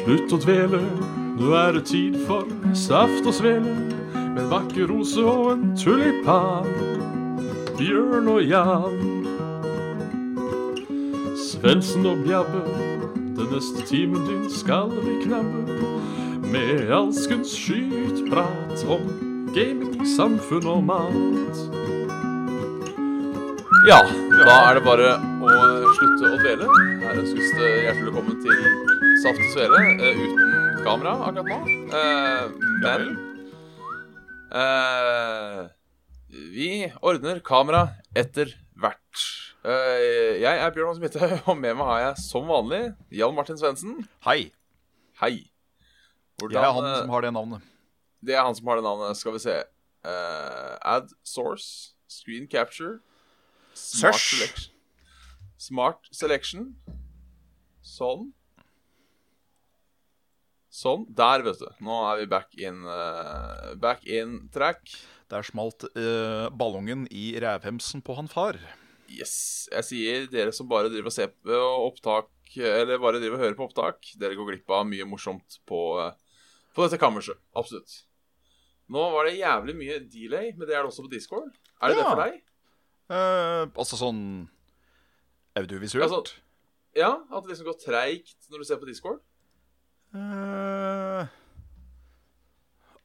Slutt å dvele, nå er det tid for saft og svele. Med en vakker rose og en tulipan. Bjørn og Jan. Svendsen og Bjabbe, den neste timen din skal vi knabbe. Med alskens skytprat om gaming, samfunn og mat. Ja, da er det bare å slutte å dvele. Her ønskes det hjertelig velkommen til Saft og Svele eh, uten kamera akkurat nå. Eh, Men eh, vi ordner kamera etter hvert. Eh, Jeg er Bjørn Hans Mitte, og med meg har jeg som vanlig Jan Martin Svendsen. Hei. Hei. Jeg er han eh, som har det navnet. Det er han som har det navnet. Skal vi se. Eh, ad source, screen capture, smart Search. selection. Smart selection. Sånn. Sånn. Der, vet du. Nå er vi back in eh, Back in track. Der smalt eh, ballongen i rævhemsen på han far. Yes. Jeg sier dere som bare driver og ser på opptak, eller bare driver og hører på opptak, dere går glipp av mye morsomt på, eh, på dette kammerset. Absolutt. Nå var det jævlig mye delay, men det er det også på Discord. Er det det Ja. for deg? Eh, altså sånn audiovisuelt. Altså- Ja, At det liksom går treigt når du ser på Discord? Eh,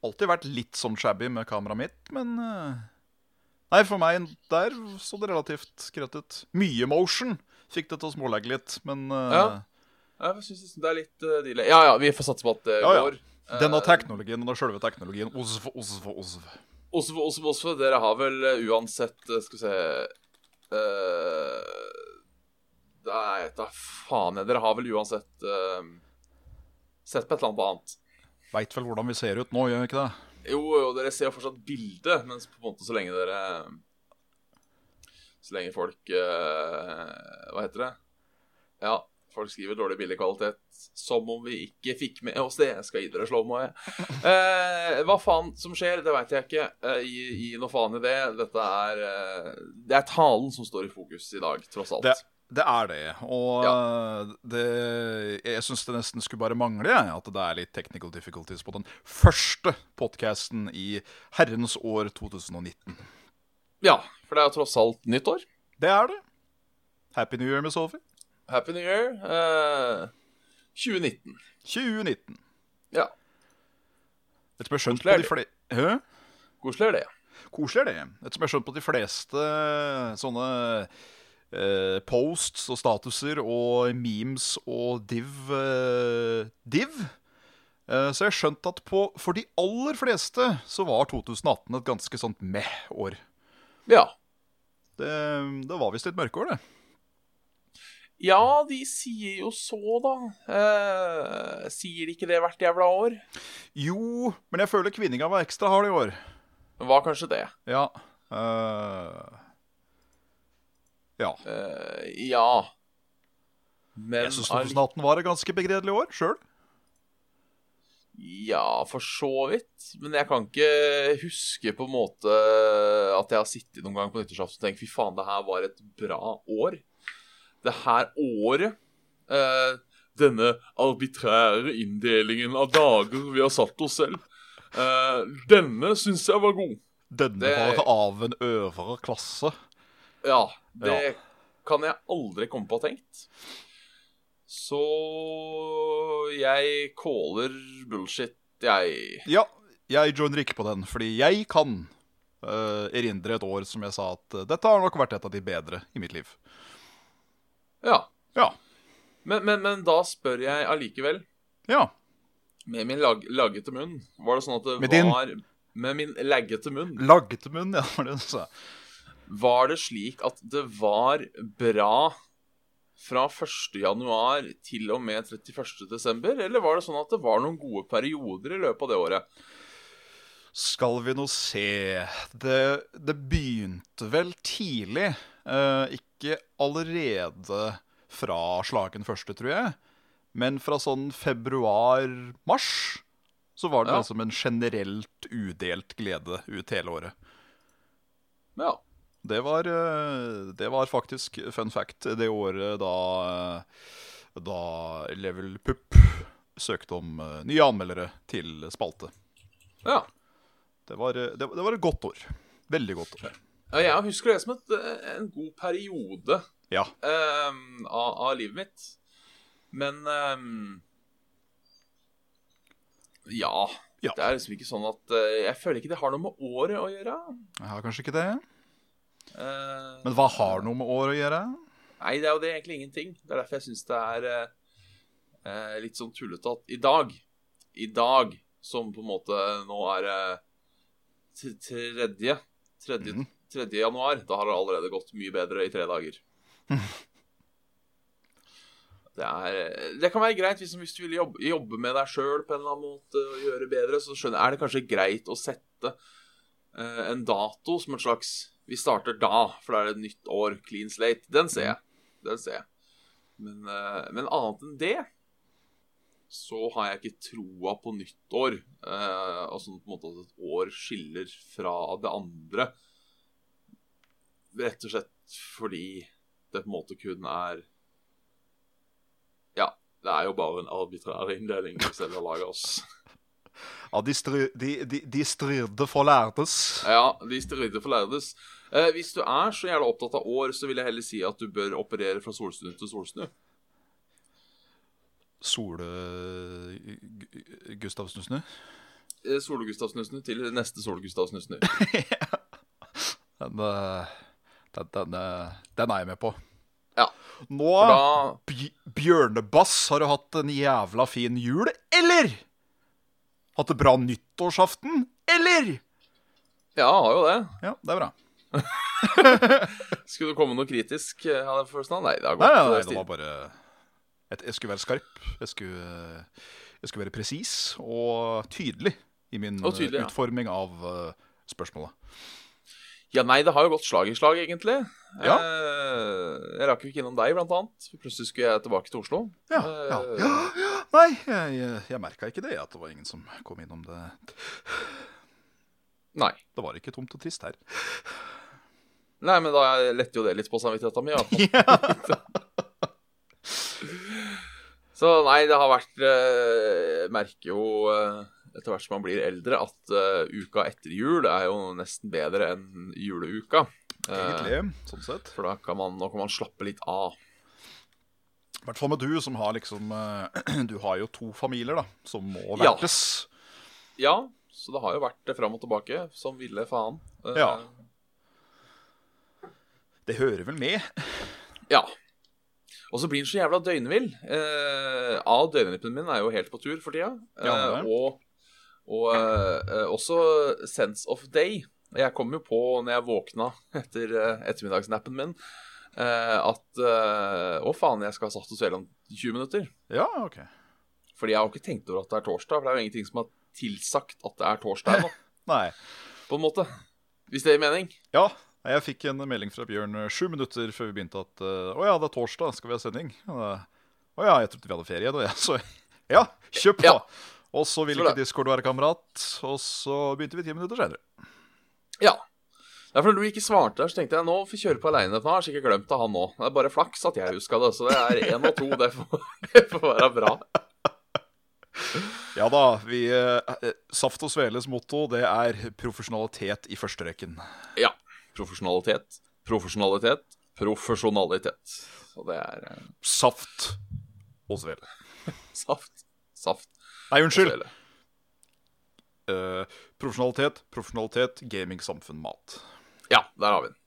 alltid vært litt sånn shabby med kameraet mitt, men eh, Nei, for meg der så det relativt greit ut. Mye motion fikk det til å smålegge litt, men eh, Ja. Jeg synes liksom det er litt eh, delay. Ja ja, vi får satse på at det Ja, ja. går. Eh, Denne teknologien og den sjølve teknologien Osv, osv, osv. Osvo, Osvo, Osvo, dere har vel eh, uansett eh, Skal vi se eh, Nei, da faen jeg. Dere har vel uansett eh, sett på et eller annet annet. Veit vel hvordan vi ser ut nå, gjør vi ikke det? Jo, jo, dere ser jo fortsatt bildet, men på en måte så lenge dere Så lenge folk eh, Hva heter det? Ja, folk skriver dårlig bildekvalitet. Som om vi ikke fikk med oss det. Jeg skal gi dere slowmo, jeg. Eh, hva faen som skjer, det veit jeg ikke. Eh, gi, gi noe faen i det. Dette er eh, Det er talen som står i fokus i dag, tross alt. Det, det er det. Og eh, det, jeg syns det nesten skulle bare mangle jeg, at det er litt technical difficulties på den første podkasten i herrens år 2019. Ja, for det er jo tross alt nyttår. Det er det. Happy New Year med Sophie. Happy New Year. Eh, 2019. 2019. Ja. Etter som jeg har skjønt på Koselig de fleste Hæ? Koselig er det. Koselig er det. Etter som jeg har skjønt på de fleste sånne eh, posts og statuser og memes og div eh, Div? Eh, så jeg har skjønt at på, for de aller fleste så var 2018 et ganske sånt meh-år. Ja. Det, det var visst litt mørkeår, det. Ja, de sier jo så, da. Eh, sier de ikke det hvert jævla år? Jo, men jeg føler kvinninga var ekstra hard i år. Var kanskje det. Ja. eh, ja. Eh, ja. Men Jeg syns 2018 var et ganske begredelig år sjøl. Ja, for så vidt. Men jeg kan ikke huske på en måte at jeg har sittet noen gang på nyttårsaften og tenkt fy faen, det her var et bra år. Det her året eh, Denne arbitrære inndelingen av dager vi har satt oss selv. Eh, denne syns jeg var god. Denne Det- var av en øvre klasse. Ja, det kan jeg aldri komme på å ha tenkt. Så jeg caller bullshit, jeg. Ja, jeg joiner ikke på den, fordi jeg kan eh, erindre et år som jeg sa at eh, dette har nok vært et av de bedre i mitt liv. Ja. Ja. Men, men, men da spør jeg allikevel, Ja. med min lag, laggete munn Var det sånn at det Med din- var Med min laggete munn. Lagget munn, ja, var det hun sa. Var det slik at det var bra fra 1. januar til og med 31. desember? Eller var det sånn at det var noen gode perioder i løpet av det året? Skal vi nå se Det, det begynte vel tidlig. eh, ikke allerede fra slagen første, tror jeg. Men fra sånn februar-mars så var det Ja. liksom en generelt udelt glede ut hele året. Ja. Det var, eh, det var faktisk fun fact det året da eh, Da Level Pup søkte om eh, nye anmeldere til spalte. Ja. Det var, eh, det, det var et godt år. Veldig godt år. Ja, Jeg husker det som et, eh, en god periode Ja. ehm, av, av livet mitt. Men ehm, ja, Ja. Det er liksom ikke sånn at eh, Jeg føler ikke det har noe med året å gjøre. Jeg har kanskje ikke det. Eh, Men hva har noe med år å gjøre? Nei, det er jo det egentlig ingenting. Det er derfor jeg syns det er eh, eh, litt sånn tullete at i dag I dag, som på en måte nå er eh, t- tredje, tredje, Mhm. tredje januar, da har det allerede gått mye bedre i tre dager. Det, er, eh, det kan være greit hvis, hvis du vil jobbe, jobbe med deg sjøl på en eller annen måte og gjøre bedre. Så skjønner, jeg- er det kanskje greit å sette eh, en dato som et slags Vi starter da, for da er det et nytt år, clean slate. Den ser jeg. Den ser jeg. Men, eh, men annet enn det så har jeg ikke troa på nyttår. Eh, altså på en måte at et år skiller fra det andre. Rett og slett fordi det på en måte kun er Ja, det er jo bare en arbitrær inndeling vi selv har laga oss. Ja, de, stri, de, de, de strirde for lærdes. Ja, de steroider forlærdes. Eh, hvis du er så jævla opptatt av år, så vil jeg heller si at du bør operere fra solsnu til solsnu. Sole... Gustav Snusnu. Eh, Sol-Gustav-snusnu til neste Sol-Gustav-snusnu. Den, eh, den, den, eh, den er jeg med på. Ja. Nå For da Bj- Bjørnebass, har du hatt en jævla fin jul, eller? Hatt det bra nyttårsaften, eller? Ja, jeg har jo det. Ja, det er bra. Skulle det komme noe kritisk? eh, Hadde jeg følelsen av Nei, det har Nei, gått. eh, nei, nei, stille. det var bare jeg, jeg skulle være skarp. Jeg skulle, eh, jeg skulle være presis og tydelig i min Og tydelig, eh, ja. utforming av eh, spørsmålet. Ja, nei, det har jo gått slag i slag, egentlig. Ja. Eh, jeg rakk jo ikke innom deg, blant annet. For plutselig skulle jeg tilbake til Oslo. Ja, Eh, ja, ja, ja. Nei, jeg, jeg, jeg merka ikke det, at det var ingen som kom innom det. Nei. Det var ikke tomt og trist her. Nei, men da letter jo det litt på samvittigheten min. i hvert fall. Så nei, det har vært eh, Jeg merker jo eh, etter hvert som man blir eldre, at eh, uka etter jul er jo nesten bedre enn juleuka. Eh, Egentlig, sånn sett. For da kan man, nå kan man slappe litt av. I hvert fall med du, som har liksom eh, Du har jo to familier, da, som må Ja. vertes. Ja, så det har jo vært det fram og tilbake, som ville faen. Eh, Ja. Det hører vel med. Ja. Og så blir den så jævla døgnvill. Eh, A, døgnrytmen min er jo helt på tur for tida. Eh, Ja, det er. og og eh, eh, også sense of day. Jeg kom jo på når jeg våkna etter eh, ettermiddagsnappen min, eh, at eh, Å, faen, jeg skal ha satt og svele om 20 minutter. Ja, OK. Fordi jeg har jo ikke tenkt over at det er torsdag, for det er jo ingenting som har tilsagt at det er torsdag nå, Nei. på en måte. Hvis det gir mening. Ja, jeg fikk en melding fra Bjørn eh, sju minutter før vi begynte at eh, Å ja, det er torsdag, skal vi ha sending? Og da, Å ja, jeg trodde vi hadde ferie da, jeg. Så ja, kjøp på! Ja. Og så ville Så ikke Discord være kamerat, og så begynte vi ti minutter senere. Ja. Ja, for Når du ikke svarte, der, så tenkte jeg nå får jeg kjøre på aleine. Han har jeg sikkert glemt det, han òg. Det er bare flaks at jeg huska det. Så det er én og to. Det får, det får være bra. Ja da, vi eh, eh, Saft og Sveles motto, det er profesjonalitet i første rekken. Ja. Profesjonalitet, profesjonalitet, profesjonalitet. Så det er eh, Saft og Svele. saft, saft. Nei, unnskyld. Svele. Eh, profesjonalitet, profesjonalitet, gaming, samfunn, mat. Ja, der har vi den.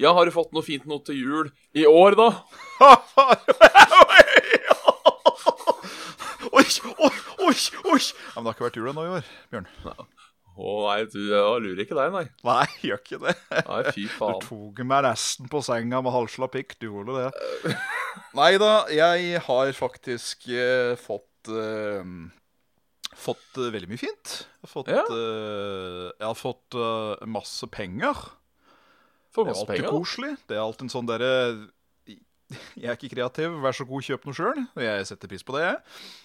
Ja, har du fått noe fint noe til jul i år, da? Oi, oi, oi, oi! Ja, men det har ikke vært jul ennå i år, Bjørn. Å nei, du jeg lurer ikke deg, nei. Nei, gjør ikke det. Nei, fy Du faen. tok meg nesten på senga med halvslapp pikk, du gjorde det. Nei da, jeg har faktisk eh, fått eh, Fått eh, veldig mye fint. Jeg har fått, Ja. eh, jeg har fått eh, masse penger. Får Det er masse alltid penger. da. koselig. Det er alltid en sånn derre Jeg er ikke kreativ, vær så god, kjøp noe sjøl. Jeg setter pris på det, jeg.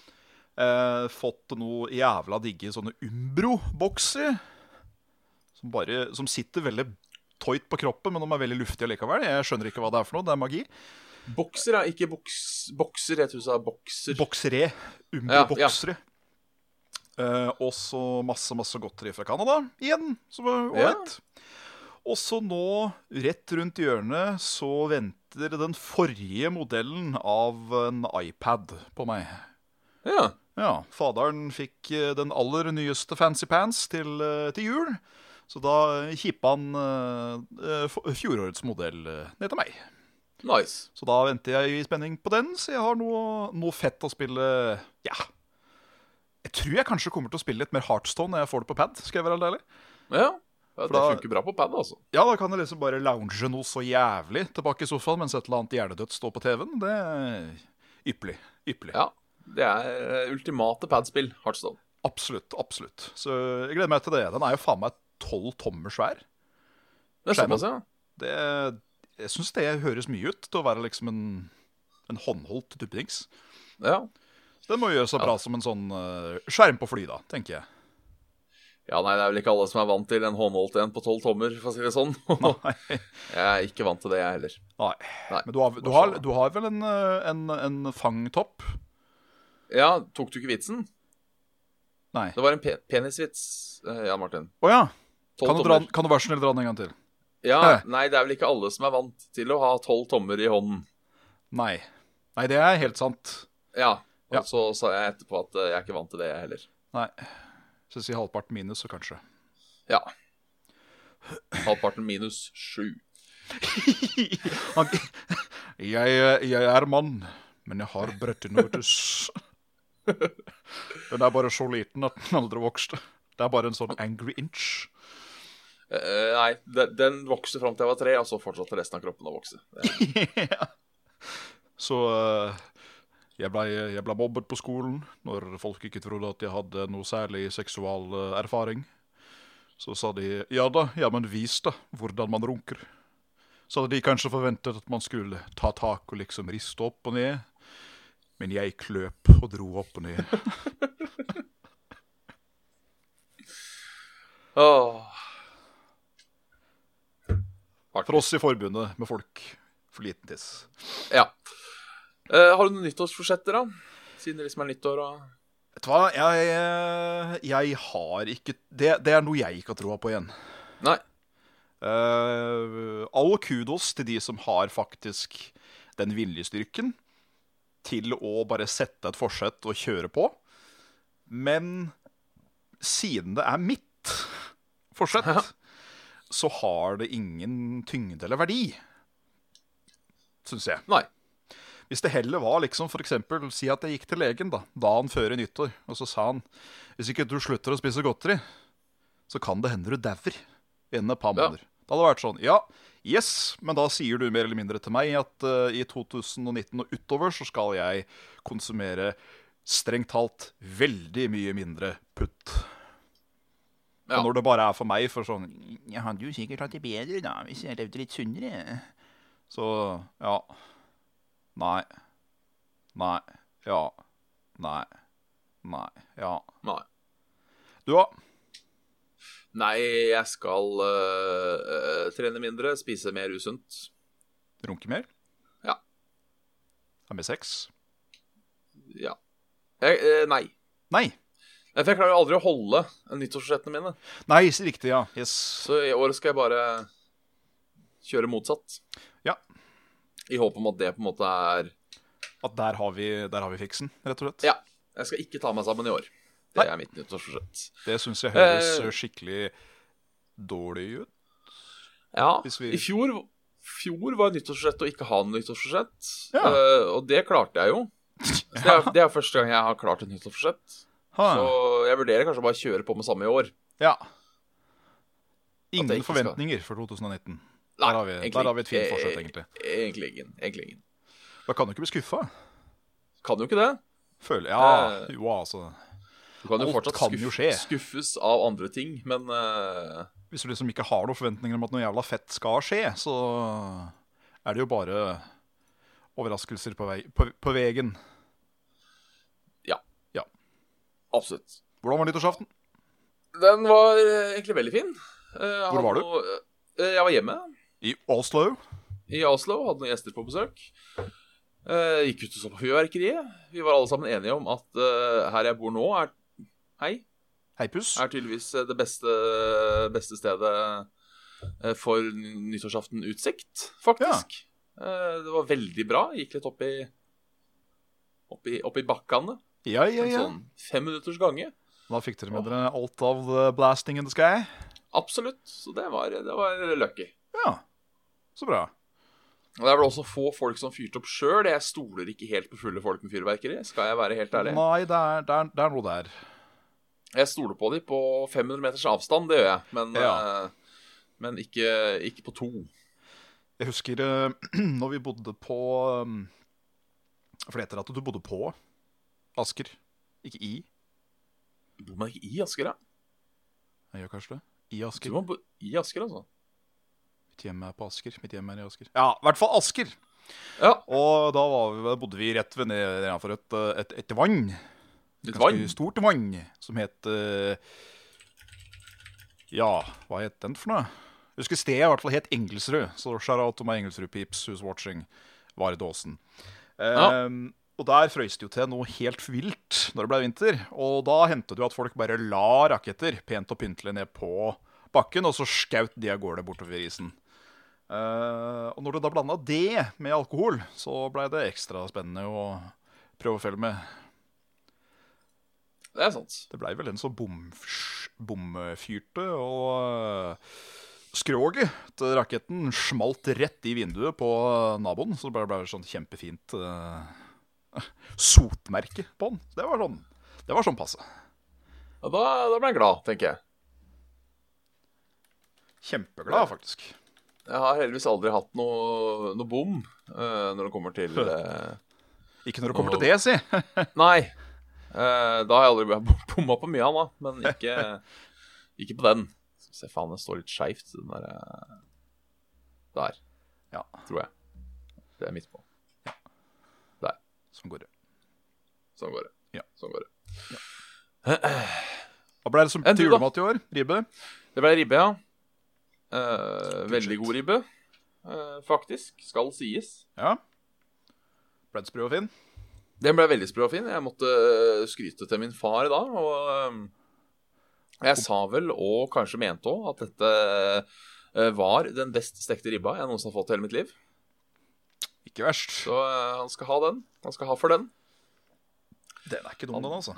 Eh, fått noe jævla digge sånne Umbro-bokser. Som, bare- som sitter veldig tøyt på kroppen, men de er veldig luftige allikevel. Jeg skjønner ikke hva det er for noe. Det er magi. Bokser er ikke boks, bokser, jeg tror jeg sa bokser. Boksere. Ja, ja. Umbro-boksere. Eh, og så masse, masse godteri fra Canada igjen, som er Ja. ålreit. Og så nå, rett rundt hjørnet, så venter den forrige modellen av en iPad på meg. ja. Ja, faderen fikk eh, den aller nyeste Fancy Pants til, eh, til jul. Så da eh, kippa han eh, eh, f- fjorårets modell eh, ned til meg. Nice. Så da venter jeg i spenning på den, så jeg har noe, noe fett å spille Ja. Jeg tror jeg kanskje kommer til å spille litt mer Heartstone når jeg får det på pad. skal jeg være helt ærlig. Ja. ja det da- funker bra på pad, altså. Ja, da kan jeg liksom bare lounge noe så jævlig tilbake i sofaen mens et eller annet hjernedødt står på TV-en. Det er ypperlig. Ypperlig. Ja. Det er eh, ultimate padspill, Heartstone. Absolutt. Absolutt. Så jeg gleder meg til det. Den er jo faen meg tolv tommer svær. Det er Skjermen. såpass, ja. Det, jeg syns det høres mye ut til å være liksom en, en håndholdt duppedings. ja. Så Den må jo gjøre seg bra som en sånn eh, skjerm på fly, da, tenker jeg. Ja, nei, det er vel ikke alle som er vant til en håndholdt en på tolv tommer, for å si det sånn. Nei. Jeg er ikke vant til det, jeg heller. Nei. Nei. Men du har, du har, du har vel en, eh, en, en fangtopp? Ja, tok du ikke vitsen? Nei. Det var en pe penisvits, eh, Jan Martin. Å ja. Tolv Kan du, dra, tommer. den- kan du være så snill dra den en gang til? Ja, nei, det er vel ikke alle som er vant til å ha tolv tommer i hånden. Nei. Nei, det er helt sant. Ja. Og Ja. så sa jeg etterpå at eh, jeg er ikke vant til det, jeg heller. Nei. Så si halvparten minus, så kanskje. Ja. Halvparten minus sju. Ok. jeg, eh, jeg er mann, men jeg har brettinutus. Den er bare så liten at den aldri vokste. Det er bare en sånn angry inch. Eh, nei, den, den vokste fram til jeg var tre, og så fortsatte resten av kroppen å vokse. Det- Så eh, jeg blei jeg ble mobbet på skolen når folk ikke trodde at jeg hadde noe særlig seksual eh, erfaring. Så sa de ja da, ja men vis da hvordan man runker. Så hadde de kanskje forventet at man skulle ta tak og liksom riste opp og ned. Men jeg kløp og dro opp og ned. Åh. For oss i forbundet med folk for liten tiss. Ja. Eh, har du noen nyttårsforsetter, da? Siden det liksom er nyttår og Vet du hva, jeg, eh, jeg har ikke det, det er noe jeg ikke har troa på igjen. Nei. Eh, all kudos til de som har faktisk den viljestyrken til å bare sette et forsett og kjøre på. Men siden det er mitt forsett, så har det ingen tyngde eller verdi, syns jeg. Nei. Hvis det heller var liksom for eksempel, si at jeg gikk til legen da, dagen før i nyttår, og så sa han hvis ikke du slutter å spise godteri, så kan det hende du dauer innen et par Ja. måneder. Da hadde det vært sånn, ja, yes, men da sier du mer eller mindre til meg at eh, i 2019 og utover så skal jeg konsumere strengt talt veldig mye mindre putt. Ja. Og når det bare er for meg, for sånn Jeg hadde jo sikkert hatt det bedre da, hvis jeg levde litt sunnere. Så ja. Nei. Nei. Ja. Nei. Nei. Ja. Nei. Du, da? Nei, jeg skal eh, eh, trene mindre, spise mer usunt. Runke mer? Ja. Ha med sex? Ja. Jeg, eh, nei. Nei. Nei, For jeg klarer jo aldri å holde nyttårsforsettene mine. Nei, s- riktig, ja. Yes. Så i år skal jeg bare kjøre motsatt. Ja. I håp om at det på en måte er At der har vi, der har vi fiksen, rett og slett. Ja. Jeg skal ikke ta meg sammen i år. Det Nei. er mitt nyttårsforsett. Det syns jeg høres Eh. eh, skikkelig dårlig ut. Ja, Hvis vi- i fjor, fjor var nyttårsforsett å ikke ha noe nyttårsforsett. Ja. Eh, og det klarte jeg jo. Så det, er, det er første gang jeg har klart et nyttårsforsett. Ha. Så jeg vurderer kanskje å bare kjøre på med samme i år. Ja. At jeg Ingen ikke skal- forventninger for 2019. Nei, der, har vi, egentlig der har vi et fint ikke. E- forsett, egentlig. Egentlig ingen. Egentlig ingen. Da kan du ikke bli skuffa. Kan jo ikke det. Føler Ja, Eh. jo, altså. Du kan jo Alt fortsatt kan jo skuff- skje. skuffes av andre ting, men eh, Hvis du liksom ikke har noen forventninger om at noe jævla fett skal skje, så er det jo bare overraskelser på, vei, på, på veien. absolutt. Hvordan var nyttårsaften? Den var eh, egentlig veldig fin. Eh, jeg hadde var du? noe- eh, jeg var hjemme I Oslo? i i Oslo, hadde noen gjester på besøk. Eh, gikk ut og så på fyrverkeriet. Vi var alle sammen enige om at eh, her jeg bor nå, er Hei. Heipus. Er tydeligvis eh, det beste, beste stedet eh, for n- nyttårsaften utsikt, faktisk. Eh, det var veldig bra. Gikk litt opp i, opp i, opp i bakkene. Ja, ja, En ja. sånn fem minutters gange. Da fikk dere med dere alt av the blasting in the sky. Absolutt. Så det var, det var lucky. Ja, så bra. Og Det er vel også få folk som fyrte opp sjøl. Jeg stoler ikke helt på fulle folk med fyrverkeri. Skal jeg være helt ærlig? Nei, det er, det, er, det er noe der. Jeg stoler på dem på 500 meters avstand, det gjør jeg. Men, Ja. eh, men ikke, ikke på to. Jeg husker eh, når vi bodde på um, For det heter at du bodde på Asker, ikke i. Bor man ikke i Asker, da? Jeg gjør kanskje det. I Du Asker. må bo i Asker, altså. Mitt hjem er på Asker. Mitt hjem er i Asker. Ja, i hvert fall Asker. Ja, Og da var vi, bodde vi rett ved ned- nedenfor et, eh, et, et vann. litt Ganske vann. stort vann som het eh, Ja, hva het den for noe? Jeg husker stedet i hvert fall het Engelsrud. Så shout-out to my Engelsrud-peeps who's watching. Var i Dåsen. Eh, Ja. Og der frøys det jo til noe helt vilt når det ble vinter. Og da hendte det jo at folk bare la raketter pent og pyntelig ned på bakken, og så skjøt de av gårde bortover isen. Eh, og når du da blanda det med alkohol, så blei det ekstra spennende å prøve å følge med. Det er sant. Det blei vel en sånn bomfsj- bomfyrte, og uh, skroget til raketten smalt rett i vinduet på eh, naboen. Så det ble, ble sånn kjempefint eh, sotmerke på den. Det var sånn, det var sånn passe. Ja, da, da ble jeg glad, tenker jeg. Kjempeglad, faktisk. Jeg har heldigvis aldri hatt noe, noe bom eh, når det kommer til eh, Ikke når det kommer til det, si. Nei. Eh, da har jeg aldri bom- bomma på mye, da. Men ikke, ikke på den. Skal vi Se, faen, den står litt skeivt, den der eh, Der, Ja, tror jeg. Det er midt på. Der. sånn går det. Sånn går det. Ja. Sånn går det. Hva ble det som Enn til du, da? julemat i år? Ribbe? Det ble ribbe, ja. Eh, veldig god ribbe, eh, faktisk. Skal sies. Ja. Ble det sprø og fin? Den ble veldig sprø og fin. Jeg måtte øh, skryte til min far da. Og øhm, jeg sa vel, og kanskje mente òg, at dette øh, var den best stekte ribba jeg noensinne har fått i hele mitt liv. Ikke verst. Så øh, han skal ha den. Han skal ha for den. Den er ikke dum, den, altså.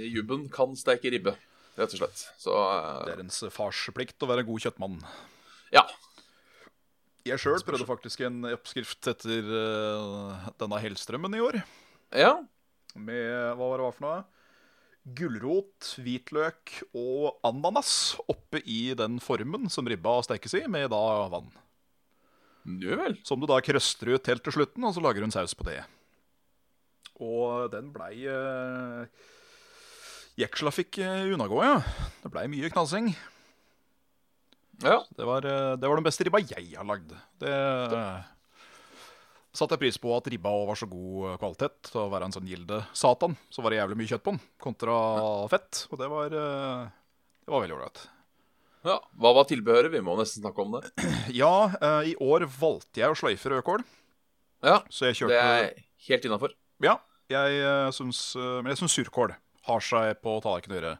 Jubben kan steke ribbe, rett og slett. Så øh, Det er ens farsplikt å være en god kjøttmann. ja. Jeg sjøl prøvde faktisk en oppskrift etter eh, denne Hellstrømmen i år. Ja. Med hva var det var for noe? Gulrot, hvitløk og ananas oppe i den formen som ribba stekes i, med da vann. Jo vel. Som du da krøster ut helt til slutten, og så lager du en saus på det. Og den blei eh, Jeksla fikk eh, unngå, ja. Det blei mye knasing. Ja. Det var, eh, det var den beste ribba jeg har lagd. Det eh, satte jeg pris på at ribba også var så god eh, kvalitet til å være en sånn gilde satan. Så var det jævlig mye kjøtt på den, kontra fett. Og det var, eh, det var veldig ålreit. ja. Hva var tilbehøret? Vi må nesten snakke om det. Ja, eh, i år valgte jeg å sløyfe rødkål, Ja. så jeg Det kjørte er helt innafor. Ja, jeg eh, syns eh, Men jeg syns surkål har seg på tallerkenen å gjøre.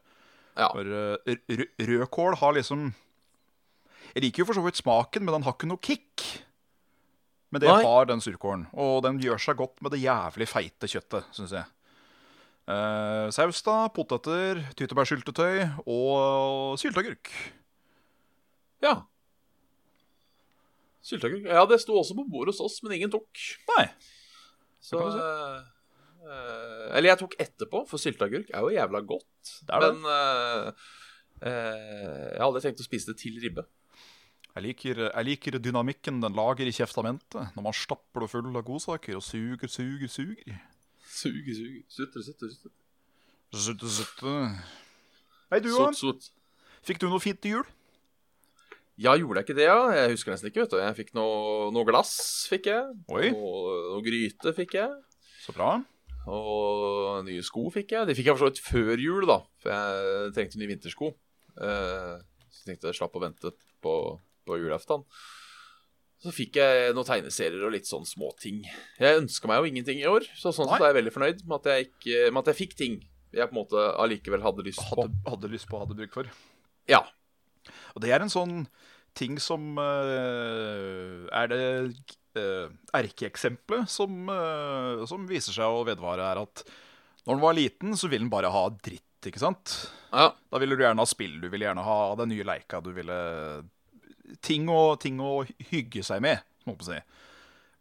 Ja. For eh, r- r- rødkål har liksom Jeg liker jo for så vidt smaken, men den har ikke noe kick. Men det Nei. har den surkålen, og den gjør seg godt med det jævlig feite kjøttet, syns jeg. Eh, saus, da. Poteter, tyttebærsyltetøy og sylteagurk. Ja. Sylteagurk. Ja, det sto også på bordet hos oss, men ingen tok. Nei. Så, kan du eh, eh, eller jeg tok etterpå, for sylteagurk er jo jævla godt. Det er det. Men eh, eh, jeg har aldri tenkt å spise det til ribbe. Jeg liker, jeg liker dynamikken den lager i kjeftamentet når man stapper det full av godsaker og suger, suger, suger. Suge, suge. Sutre, sutre, sutre. Sutte, sutte. Hei, du Sot, òg. sot. Fikk du noe fint til jul? Ja, gjorde jeg ikke det, ja? Jeg husker nesten ikke, vet du. Jeg fikk noe, noe glass, fikk jeg. Oi. Noe, noe gryte fikk jeg. Så bra. Og nye sko fikk jeg. De fikk jeg for så vidt før jul, da. For jeg trengte nye vintersko. Eh, så tenkte jeg slapp å vente på, på julaften. Så fikk jeg noen tegneserier og litt sånn småting. Jeg ønska meg jo ingenting i år, så sånn sett er jeg veldig fornøyd med at jeg, ikke, med at jeg fikk ting jeg på en måte allikevel hadde lyst på. Hadde, hadde lyst på, hadde bruk for. Ja. Og det er en sånn ting som eh, Er det eh, erkeeksempelet som, eh, som viser seg å vedvare, er at når den var liten, så ville den bare ha dritt, ikke sant? ja. Da ville du gjerne ha spill, du ville gjerne ha den nye leika, du ville Ting å, ting å hygge seg med, må jeg på å si.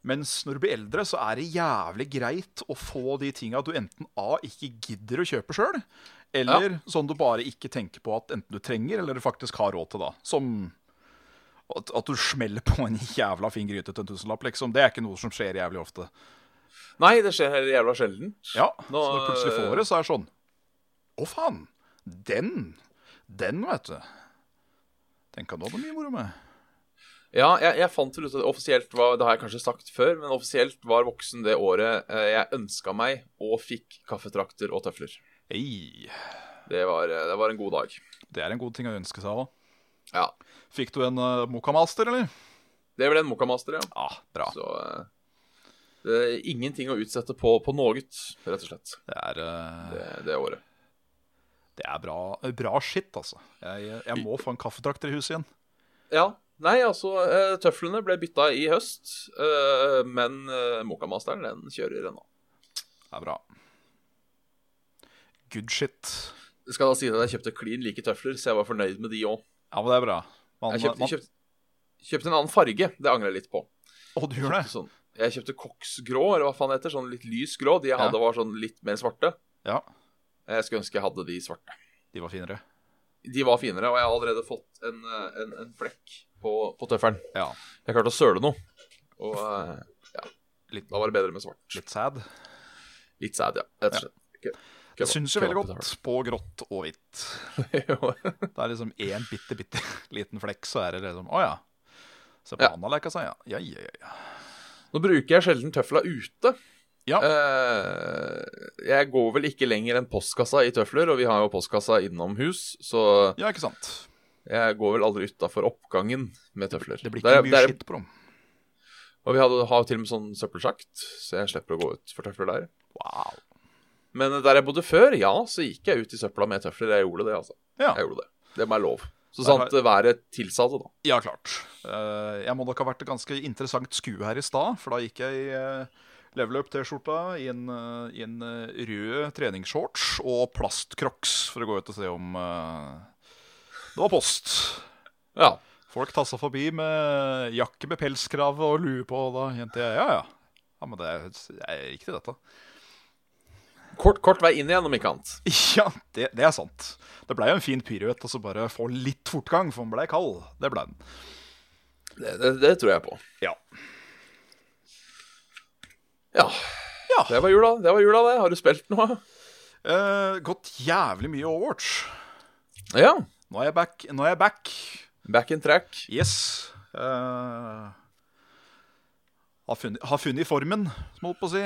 Mens når du blir eldre, så er det jævlig greit å få de tinga du enten A ikke gidder å kjøpe sjøl, eller sånn du bare ikke tenker på at enten du trenger, eller du faktisk har råd til, da. Som at, at du smeller på en jævla fin gryte til en tusenlapp, liksom. Det er ikke noe som skjer jævlig ofte. Nei, det skjer heller jævla sjelden. Ja, Nå, så når du plutselig øh, får det, så er det sånn Å, faen! Den! Den, vet du. Den kan du ha det mye moro med. Ja, jeg, jeg fant vel ut at offisielt var Det har jeg kanskje sagt før, men offisielt var voksen det året eh, jeg ønska meg og fikk kaffetrakter og tøfler. Ei, Det var, eh, det var en god dag. det er en god ting å ønske seg òg. Ja. Fikk du en uh, Mokamaster, eller? Det ble en Mokamaster, ja. Ja, bra. Så eh, det er ingenting å utsette på, på noe, rett og slett, Det er, eh, det, det året. det er bra, bra skitt, altså. Jeg, jeg må få en kaffetrakter i huset igjen. Ja. Nei, altså, eh, tøflene ble bytta i høst, eh, men eh, Mokamasteren, den kjører ennå. Det er bra. Good shit. Det skal da si at jeg kjøpte klin like tøfler, så jeg var fornøyd med de òg. Ja, men det er bra. Man, Jeg kjøpte, man- kjøpte, kjøpte en annen farge, det angrer jeg litt på. Å, du gjør det? Sånn, jeg kjøpte koksgrå, eller hva faen det heter, sånn litt lys grå. De jeg Ja. hadde, var sånn litt mer svarte. Ja, Jeg skulle ønske jeg hadde de svarte. de var finere. De var finere, og jeg har allerede fått en, eh, en, en flekk på, på tøffelen. Ja, Jeg klarte å søle noe, og eh, ja. Litt- Da var det bedre med svart. litt sad. Litt sæd, ja. Rett og slett. Jeg syns jo veldig godt på grått og hvitt. godt. Det er liksom én bitte, bitte liten flekk, så er det liksom Å ja. Se på Ja. han har leka seg, ja. Ja, ja, ja, ja. Nå bruker jeg sjelden tøfla ute. Ja. Eh, jeg går vel ikke lenger enn postkassa i tøfler, og vi har jo postkassa innom hus, så Ja, ikke sant. jeg går vel aldri utafor oppgangen med tøfler. Det blir ikke mye der, skitt på dem. Og vi hadde, har jo til og med sånn søppelsjakt, så jeg slipper å gå ut for tøfler der. Wow. Men der jeg bodde før, ja, så gikk jeg ut i søpla med tøfler. Jeg gjorde det, altså. Ja, Jeg gjorde det. Det må jeg lov. Så Der har- sant været tilsa det, da. ja klart. Eh, jeg må nok ha vært et ganske interessant skue her i stad, for da gikk jeg i eh, level up-T-skjorta, i en, eh, i en eh, rød treningsshorts og plastcrocs, for å gå ut og se om eh, det var post. Ja. Folk tassa forbi med jakke med pelskrave og lue på, og da kjente jeg ja, ja. Ja, men det er, jeg gikk til dette. Kort, kort vei inn igjen, om ikke annet. Ja, det, det er sant. Det blei jo en fin piruett, og så bare få litt fortgang, for den blei kald. Det blei den. Det, det, det tror jeg på. Ja. Ja. Ja. Det var jula, det. var jula det. Har du spilt noe? Eh, gått jævlig mye Overwatch. Ja. Nå er jeg back. Nå er jeg back. Back in track. Yes. Eh, har, funnet, har funnet formen, som jeg holdt på å si.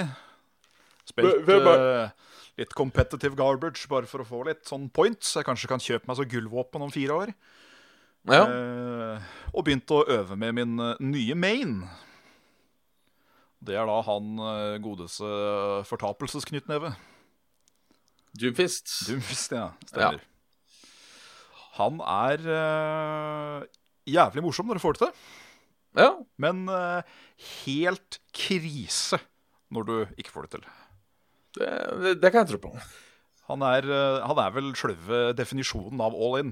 Spilt Hvem eh, litt competitive garbage bare for å få litt sånn points. Jeg kanskje kan kjøpe meg så gullvåpen om fire år. Ja. Eh, og begynte å øve med min eh, nye main. Det er da han eh, godeste fortapelsesknyttneve. Doomfist. Dumfist, ja. Stemmer. Han er eh, jævlig morsom når du får det til, Ja. men eh, helt krise når du ikke får det til. Det, det, det kan jeg tro på. Han er, eh, han er vel sjølve definisjonen av all in.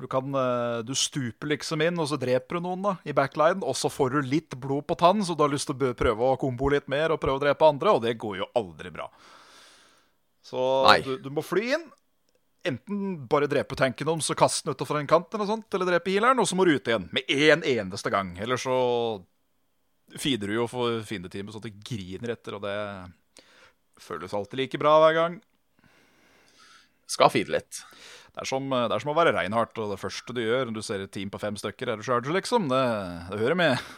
Du, kan, eh, du stuper liksom inn, og så dreper du noen da, i backline. Og så får du litt blod på tann, så du har lyst til å bø- prøve å kombo litt mer og prøve å drepe andre, og det går jo aldri bra. Så Nei. du, du må fly inn. Enten bare drepe tanken om, så kaste den utafor en kant, eller noe sånt, eller drepe healeren, og så må du ut igjen med én eneste gang. Eller så feeder du jo for fiendeteamet så det griner etter, og det føles alltid like bra hver gang. Skal feede litt. Det er som, det er som å være Reinhardt, og det første du gjør når du ser et team på fem stykker, er du charger, liksom. Det, det hører med.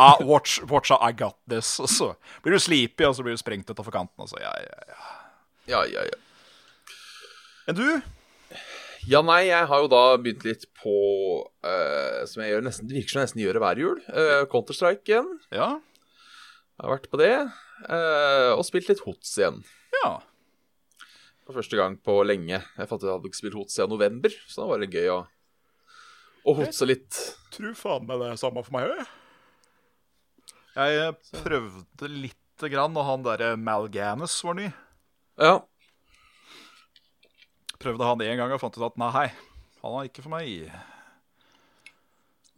Ah, watch, watch out, I got this. Og så blir du sleepy, og så blir du sprengt utafor kanten. Og så, ja, ja, ja. Ja, ja, ja. Enn du? Ja, nei, jeg har jo da begynt litt på eh, eh, som jeg gjør nesten, det virker som jeg nesten gjør det hver jul. Eh, Counter-Strike igjen. Ja. Jeg har vært på det. Eh, og spilt litt hots igjen. ja. For første gang på lenge. Jeg fant ut at jeg hadde ikke spilt hots siden november, så da var det gøy å, å hotse litt. Tror faen meg det er samme for meg òg. Jeg eh, prøvde lite grann, og han derre Malganis var ny. Ja. Prøvde han én gang og fant ut at nei, han er ikke for meg.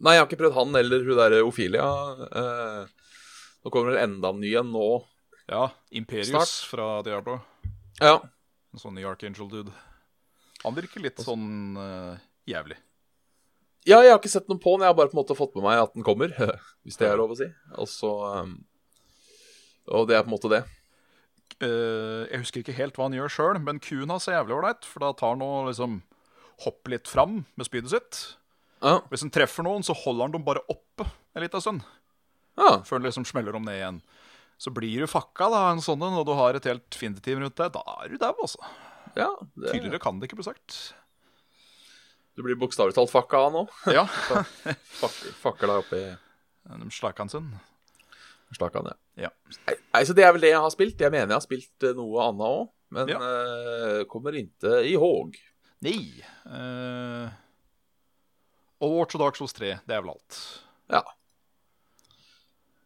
Nei, jeg har ikke prøvd han eller hun der Ophelia. Eh, nå kommer det enda en ny en nå. Ja, Imperius Snart. fra Diablo. Ja. En sånn ny Archangel-dude. Han virker litt sånn eh, jævlig. ja, jeg har ikke sett noen på den. Jeg har bare på en måte fått med meg at den kommer, hvis det er lov å si. Og så eh, Og det er på en måte det. Eh, jeg husker ikke helt hva han gjør sjøl, men kuen hans er jævlig ålreit. For da tar han og liksom hopper litt fram med spydet sitt. Ja. Hvis han treffer noen, så holder han dem bare oppe en liten stund. ja. Før den liksom smeller om ned igjen. Så blir du fakka da, en sånn en, og du har et helt findeteam rundt deg. Da er du dau, altså. ja det, Tydeligere kan det ikke bli sagt. Du blir bokstavelig talt fucka av nå. Ja, Fuck, fucker deg oppi de slakan sin. Stakk han, Ja. Nei, nei, så det er vel det jeg har spilt. Jeg mener jeg har spilt eh, noe annet òg, men Ja. eh, kommer ikke i håg. Nei. Uh, Overwatch og Dark Souls 3, det er vel alt. Ja.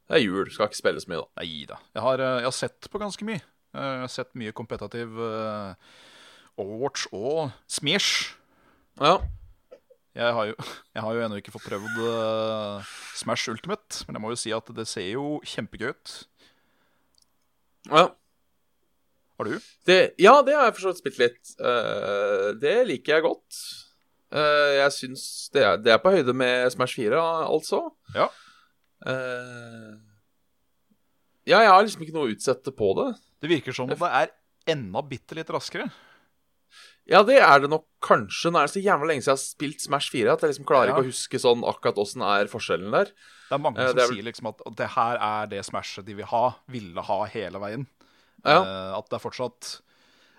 Det er jul, skal ikke spille så mye, da. Nei da. Jeg har, eh, jeg har sett på ganske mye. Eh, jeg har sett mye kompetativ eh, Overwatch og Smash. Ja, Jeg har jo, jeg har jo ennå ikke fått prøvd eh, Smash Ultimate, men jeg må jo si at det ser jo kjempegøy ut. ja. Har du? Det, ja, det har jeg for så vidt spilt litt. Eh, det liker jeg godt. Eh, jeg syns det, er- det er på høyde med Smash 4, al- altså. Ja. Eh, ja, jeg har liksom ikke noe å utsette på det. Det virker som om det er enda bitte litt raskere. Ja, det er det nok kanskje. Nå er det så jævla lenge siden jeg har spilt Smash 4 at jeg liksom klarer Ja. ikke å huske sånn akkurat åssen er forskjellen der. Det er mange Eh, som det er vel- sier liksom at at det her er det smashet de vil ha, ville ha hele veien. Ja. Eh, at det er fortsatt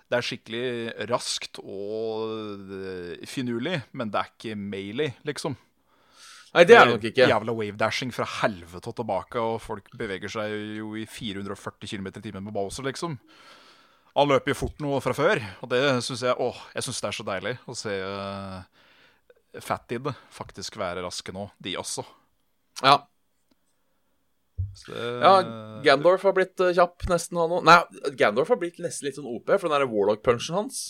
Det er skikkelig raskt og eh, finurlig, men det er ikke Mailey, liksom. Nei, det er det nok ikke. Eh, Jævla wavedashing fra helvete og tilbake, og folk beveger seg jo i 440 km i timen med Bowser, liksom. Han løper jo fort noe fra før, og det syns jeg Åh, jeg syns det er så deilig å se uh, Fatid faktisk være raske nå, de også. Ja, Så det, eh, ja Gandorf har blitt eh, kjapp nesten, han òg. Nei, Gandorf har blitt nesten litt sånn OP, for den der Warlock-punchen hans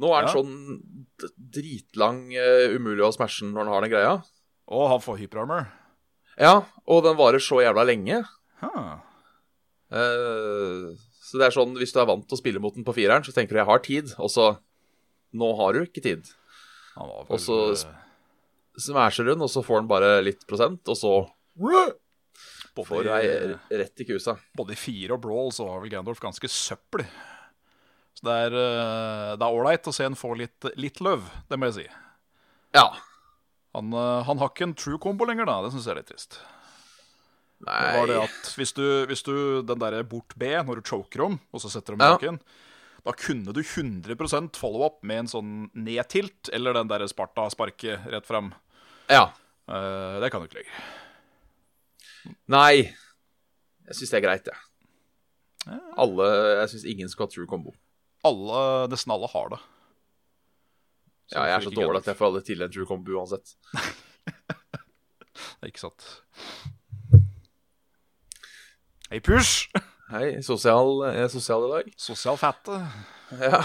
Nå er den Ja. sånn d- dritlang, eh, umulig å smashe den når den har den greia. Og han får hyperarmor. Ja, og den varer så jævla lenge. Huh. Eh, så det er sånn, hvis du er vant til å spille mot den på fireren, så tenker du 'jeg har tid', og så Nå har du ikke tid. Han var vel eh, Og så sp- smasher hun, og så får han bare litt prosent, og så både, får i- jeg rett i kusa. både i fire og brawl så var vel Gandalf ganske søppel. Så det er eh, det er ålreit å se en få litt, litt løv, det må jeg si. Ja. Han, eh, han har ikke en true combo lenger, da. Det syns jeg er litt trist. Nei. Det var det at hvis du, hvis du den derre bort B, når du choker om, og så setter du Ja. om naken, da kunne du 100 follow up med en sånn ned-tilt, eller den derre Sparta-sparket rett fram. Ja. Eh, det kan du ikke lenger. Nei. Jeg syns det er greit, jeg. Alle, jeg syns ingen skal ha true combo. Alle, nesten alle har det. Ja, jeg er så dårlig at jeg får aldri til en true combo uansett. Ikke sant. Hei, push! Hei, sosial, jeg er sosial i dag. Sosial fette. Ja,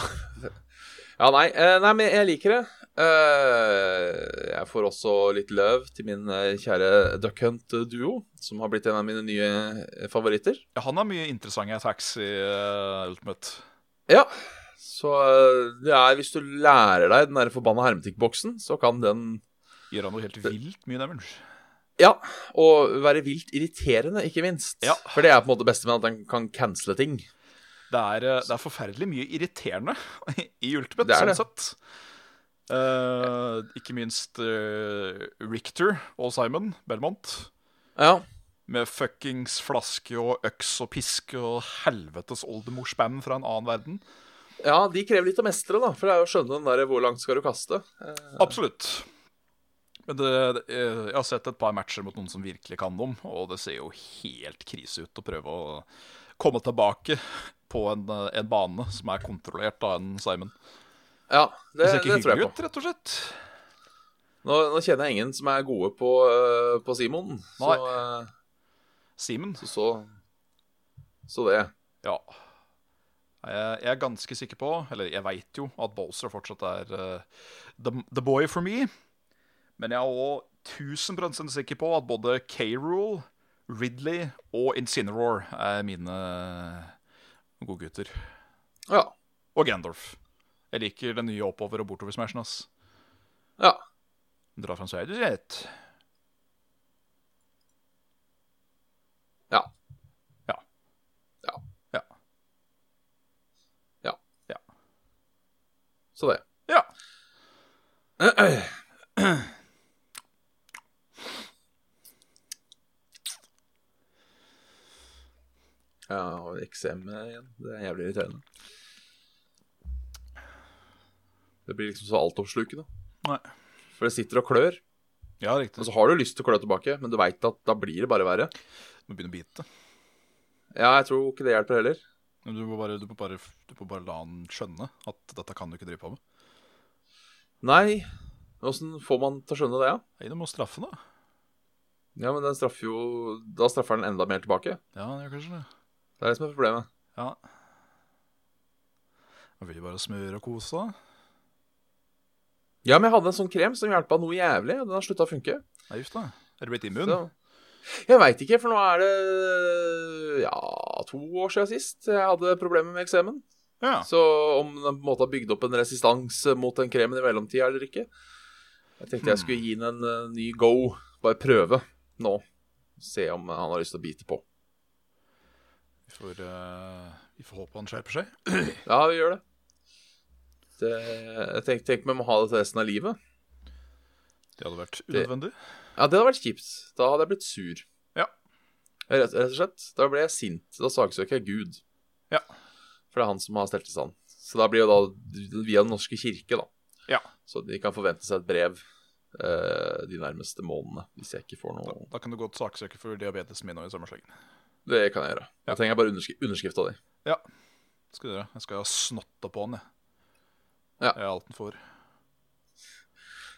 ja nei, eh, nei, men jeg liker det. Eh, Jeg får også litt løv til min eh, kjære Duck Hunt-duo, som har blitt en av mine nye eh, favoritter. Ja, han har mye interessante attacks i eh, Ultimate. Ja. Så eh, det er hvis du lærer deg den der forbanna hermetikkboksen, så kan den Gjør han noe helt vilt mye damage. Ja, og være vilt irriterende, ikke minst. Ja. For det er på en måte det beste med at den kan cancele ting. Det er, eh, det er forferdelig mye irriterende i Ultimate, Det er sånn det. sett. Eh, ikke minst eh, Richter og Simon Belmont. Ja, Med fuckings flaske og øks og piske og helvetes oldemor-spam fra en annen verden. ja de krever litt å mestre, da. For det er jo å skjønne den der hvor langt skal du kaste. Eh, Absolutt. Men det, det, eh, jeg har sett et par matcher mot noen som virkelig kan dem, og det ser jo helt krise ut å prøve å komme tilbake på en, eh, en bane som er kontrollert av en Simon. Ja, det, Det ser ikke det tror jeg hyggelig på. ut, rett og slett. Nå, nå kjenner jeg ingen som er gode på, eh, på Simon, så, eh, Simen. så, så Så det. Ja. Jeg, jeg er ganske sikker på, eller jeg veit jo, at Bolster fortsatt er eh, the, the boy for me. Men jeg er òg 1000 sikker på at både K-Rule, Ridley og Incineroar er mine godgutter. Ja. Og Gandalf. Jeg liker den nye oppover- og bortover-smashen, ass. ja. Dra fram sveidet ditt. Ja. Ja. Ja. Ja. Ja. Ja. Så det. Ja. Ja, og eksem igjen. Det er jævlig irriterende. Det blir liksom så altoppslukende. Nei. For det sitter og klør, Ja, riktig. og så har du lyst til å klø tilbake, men du veit at da blir det bare verre. Må begynne å bite. Ja, jeg tror ikke det hjelper heller. Men Du må bare, du må bare, du må bare la han skjønne at dette kan du ikke drive på med. Nei, åssen får man til å skjønne det, ja? Nei, du må straffe han, da. Ja, men den straffer jo Da straffer den enda mer tilbake. Ja, han gjør kanskje det. Det er det som er problemet. Ja. Han vil jo bare smøre og kose seg. Ja, men jeg hadde en sånn krem som hjelpa noe jævlig, og den har slutta å funke. Nei, uff da. Er du blitt immun? Så. Jeg veit ikke, for nå er det ja, to år siden sist jeg hadde problemer med eksemen. Ja. Så om den på en måte har bygd opp en resistans mot den kremen i mellomtida eller ikke Jeg tenkte jeg skulle gi den en eh, ny go. Bare prøve nå. Se om han har lyst til å bite på. Vi får, eh, vi får håpe han skjerper seg. Ja, vi gjør det. det jeg tenkte, tenk vi må ha det til resten av livet. Det hadde vært unødvendig. Ja, det hadde vært kjipt. Da hadde jeg blitt sur. Ja. Rett, rett og slett. Da ble jeg sint. Da saksøker jeg Gud. Ja. For det er han som har stelt i stand. Så da blir jo da via Den norske kirke, da. Ja. Så de kan forvente seg et brev eh, de nærmeste månedene, hvis jeg ikke får noe Da kan du godt saksøke for diabetes min òg i sommerslengen. Det kan jeg gjøre. Da trenger jeg bare underskri underskrift av de. Ja. Det skal du gjøre. Jeg skal snotte på han, jeg. Ja. Det er alt han får.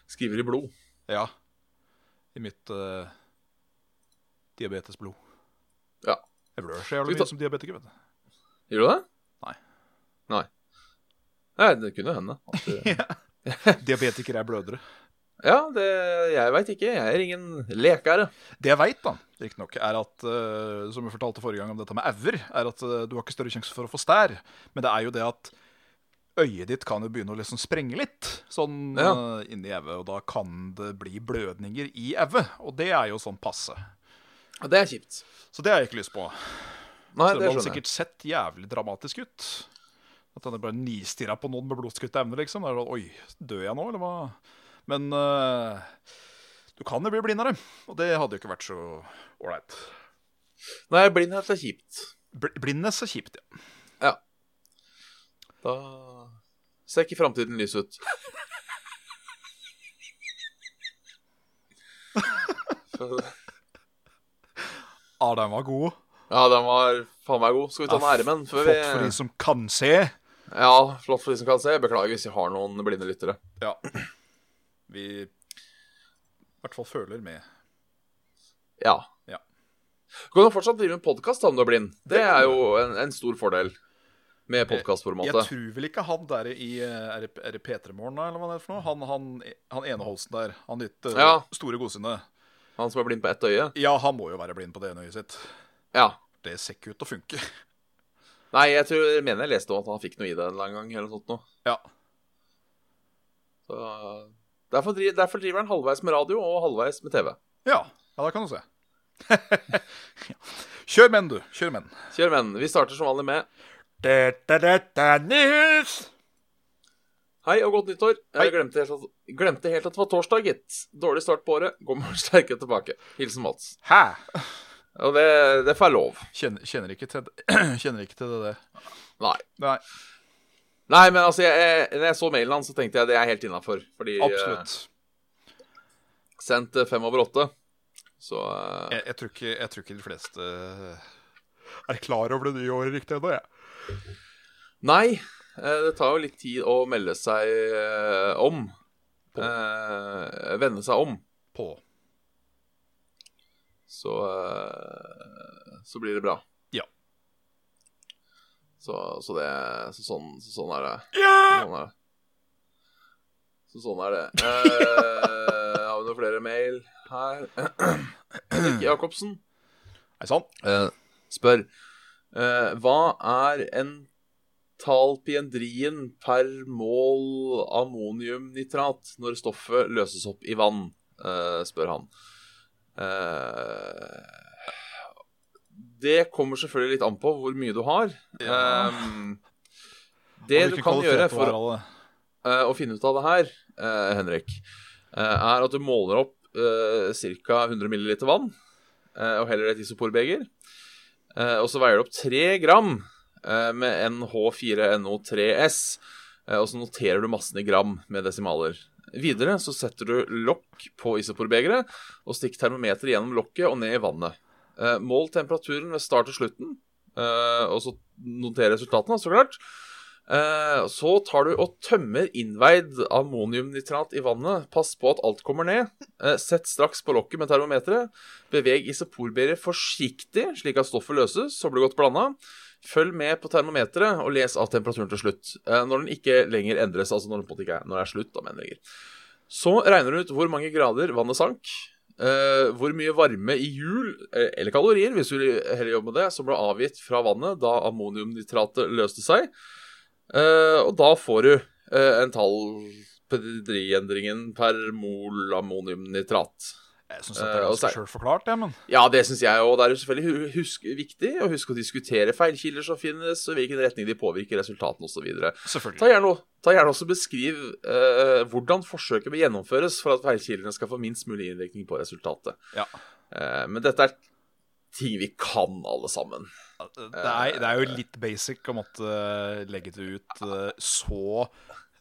Skriver i blod. Ja. I mitt eh, diabetesblod. Ja. Jeg blør så Skal vi jævlig ta- mye som diabetiker, vet du. Gjør du det? Nei. Nei. Nei, det kunne hende. At, du- Diabetikere er blødere. ja, det Jeg veit ikke. Jeg er ingen lekere. Det jeg veit, da, riktignok, er at eh, Som jeg fortalte forrige gang om dette med auer, er at eh, du har ikke større sjanse for å få stær. Men det er jo det at øyet ditt kan jo begynne å liksom sprenge litt sånn Ja. eh, inni auet, og da kan det bli blødninger i auet. Og det er jo sånn passe. Og det er kjipt. Så det har jeg ikke lyst på. Nei, Selv det om det skjønner jeg. sikkert sett jævlig dramatisk ut. At han bare nistirra på noen med blodskutte evner, liksom. Da er det sånn, Oi, dør jeg nå, eller hva? Men eh, du kan jo bli blindere, og det hadde jo ikke vært så ålreit. Nei, blindhet er kjipt. Bl- Blindness er kjipt, ja. Ja. Da ser ikke framtiden lys ut. Ah, den var god. Ja, den var faen meg god. Skal vi ta den Ja, ermen før vi Flott for de som kan se. Ja, flott for de som kan se. Beklager hvis vi har noen blinde lyttere. Ja. Vi i hvert fall føler med. Ja. Ja. Du kan jo fortsatt drive med podkast om du er blind. Det er jo en, en stor fordel med Eh, Jeg podkastformatet. tror vel ikke han der i eh, Er det, er det P3-morgen, eller hva det er for noe? Han, han, han ene Holsten der. Han litt eh, Ja. store godsynet. Han som er blind på ett øye. Ja, han må jo være blind på det ene øyet sitt. Ja. Det ser ikke ut til å funke. Nei, jeg tror, jeg mener jeg leste om at han fikk noe i det en eller annen gang. eller noe sånt noe. Ja. Så, derfor, dri- derfor driver han halvveis med radio og halvveis med TV. Ja, ja da kan du se. Kjør menn, du. Kjør menn. Kjør venn, vi starter som vanlig med Dette, dette er nyhets! Hei og godt nyttår. Jeg Hei. glemte helt, at, glemte helt at det var torsdag, gitt. Dårlig start på året. Går morgen sterkere tilbake. Hilsen Mats. Hæ? Og det, det får jeg lov. Kjenner, kjenner, ikke til, det- kjenner ikke til det der. Nei. Nei, Nei, men altså, jeg, jeg, når jeg så mailen hans, så tenkte jeg det er helt innafor. Fordi eh, absolutt. Sendt eh, fem over åtte. Så eh, Jeg, jeg, tror ikke, jeg tror ikke de fleste eh, er klar over det nye året riktig ennå, jeg. Nei, eh, det tar jo litt tid å melde seg eh, om. Eh, vende seg om. På. Så eh, Så blir det bra. Ja. Så, så det så sånn, så sånn er det. Sånn er det. Så sånn er det. Eh, har vi noen flere mail her? Henrik Jacobsen Nei sann. eh, spør eh, Hva er entalpiendrien per mål ammoniumnitrat når stoffet løses opp i vann? eh, spør han. Eh, det kommer selvfølgelig litt an på hvor mye du har. Ja. Ehm, det du kan gjøre for eh, å finne ut av det her, eh, Henrik, eh, er at du måler opp eh, ca. 100 ml vann eh, og heller et isoporbeger. Eh, og så veier du opp 3 gram eh, med NH4NO3S, eh, og så noterer du massen i gram med desimaler. Videre så setter du lokk på isoporbegeret og stikk termometeret gjennom lokket og ned i vannet. Eh, mål temperaturen ved start og slutten, eh, og så noter resultatene, så klart. Eh, Så tar du og tømmer innveid ammoniumnitrat i vannet. Pass på at alt kommer ned. Eh, Sett straks på lokket med termometeret. Beveg isoporberet forsiktig, slik at stoffet løses og blir godt blanda. Følg med på termometeret og les av temperaturen til slutt. eh, Når den ikke lenger endres, altså når den på en måte ikke er, når det er slutt, da mener jeg. Så regner du ut hvor mange grader vannet sank. eh, hvor mye varme i hjul, eh, eller kalorier, hvis du heller jobber med det, som ble avgitt fra vannet da ammoniumnitratet løste seg. Eh, og da får du eh, en tallpedriendringen per mol ammoniumnitrat. Jeg syns dette Eh, er og ganske så- sjølforklart, jeg, men Ja, det syns jeg òg. Det er jo selvfølgelig hu- husk, viktig å huske å diskutere feilkilder som finnes, og hvilken retning de påvirker resultatene osv. Ta selvfølgelig. gjerne, og- ta gjerne også beskriv eh, hvordan forsøket bør gjennomføres for at feilkildene skal få minst mulig innvirkning på resultatet. Ja. Eh, men dette er ting vi kan, alle sammen. Det er, det er jo litt basic å måtte legge det ut eh, så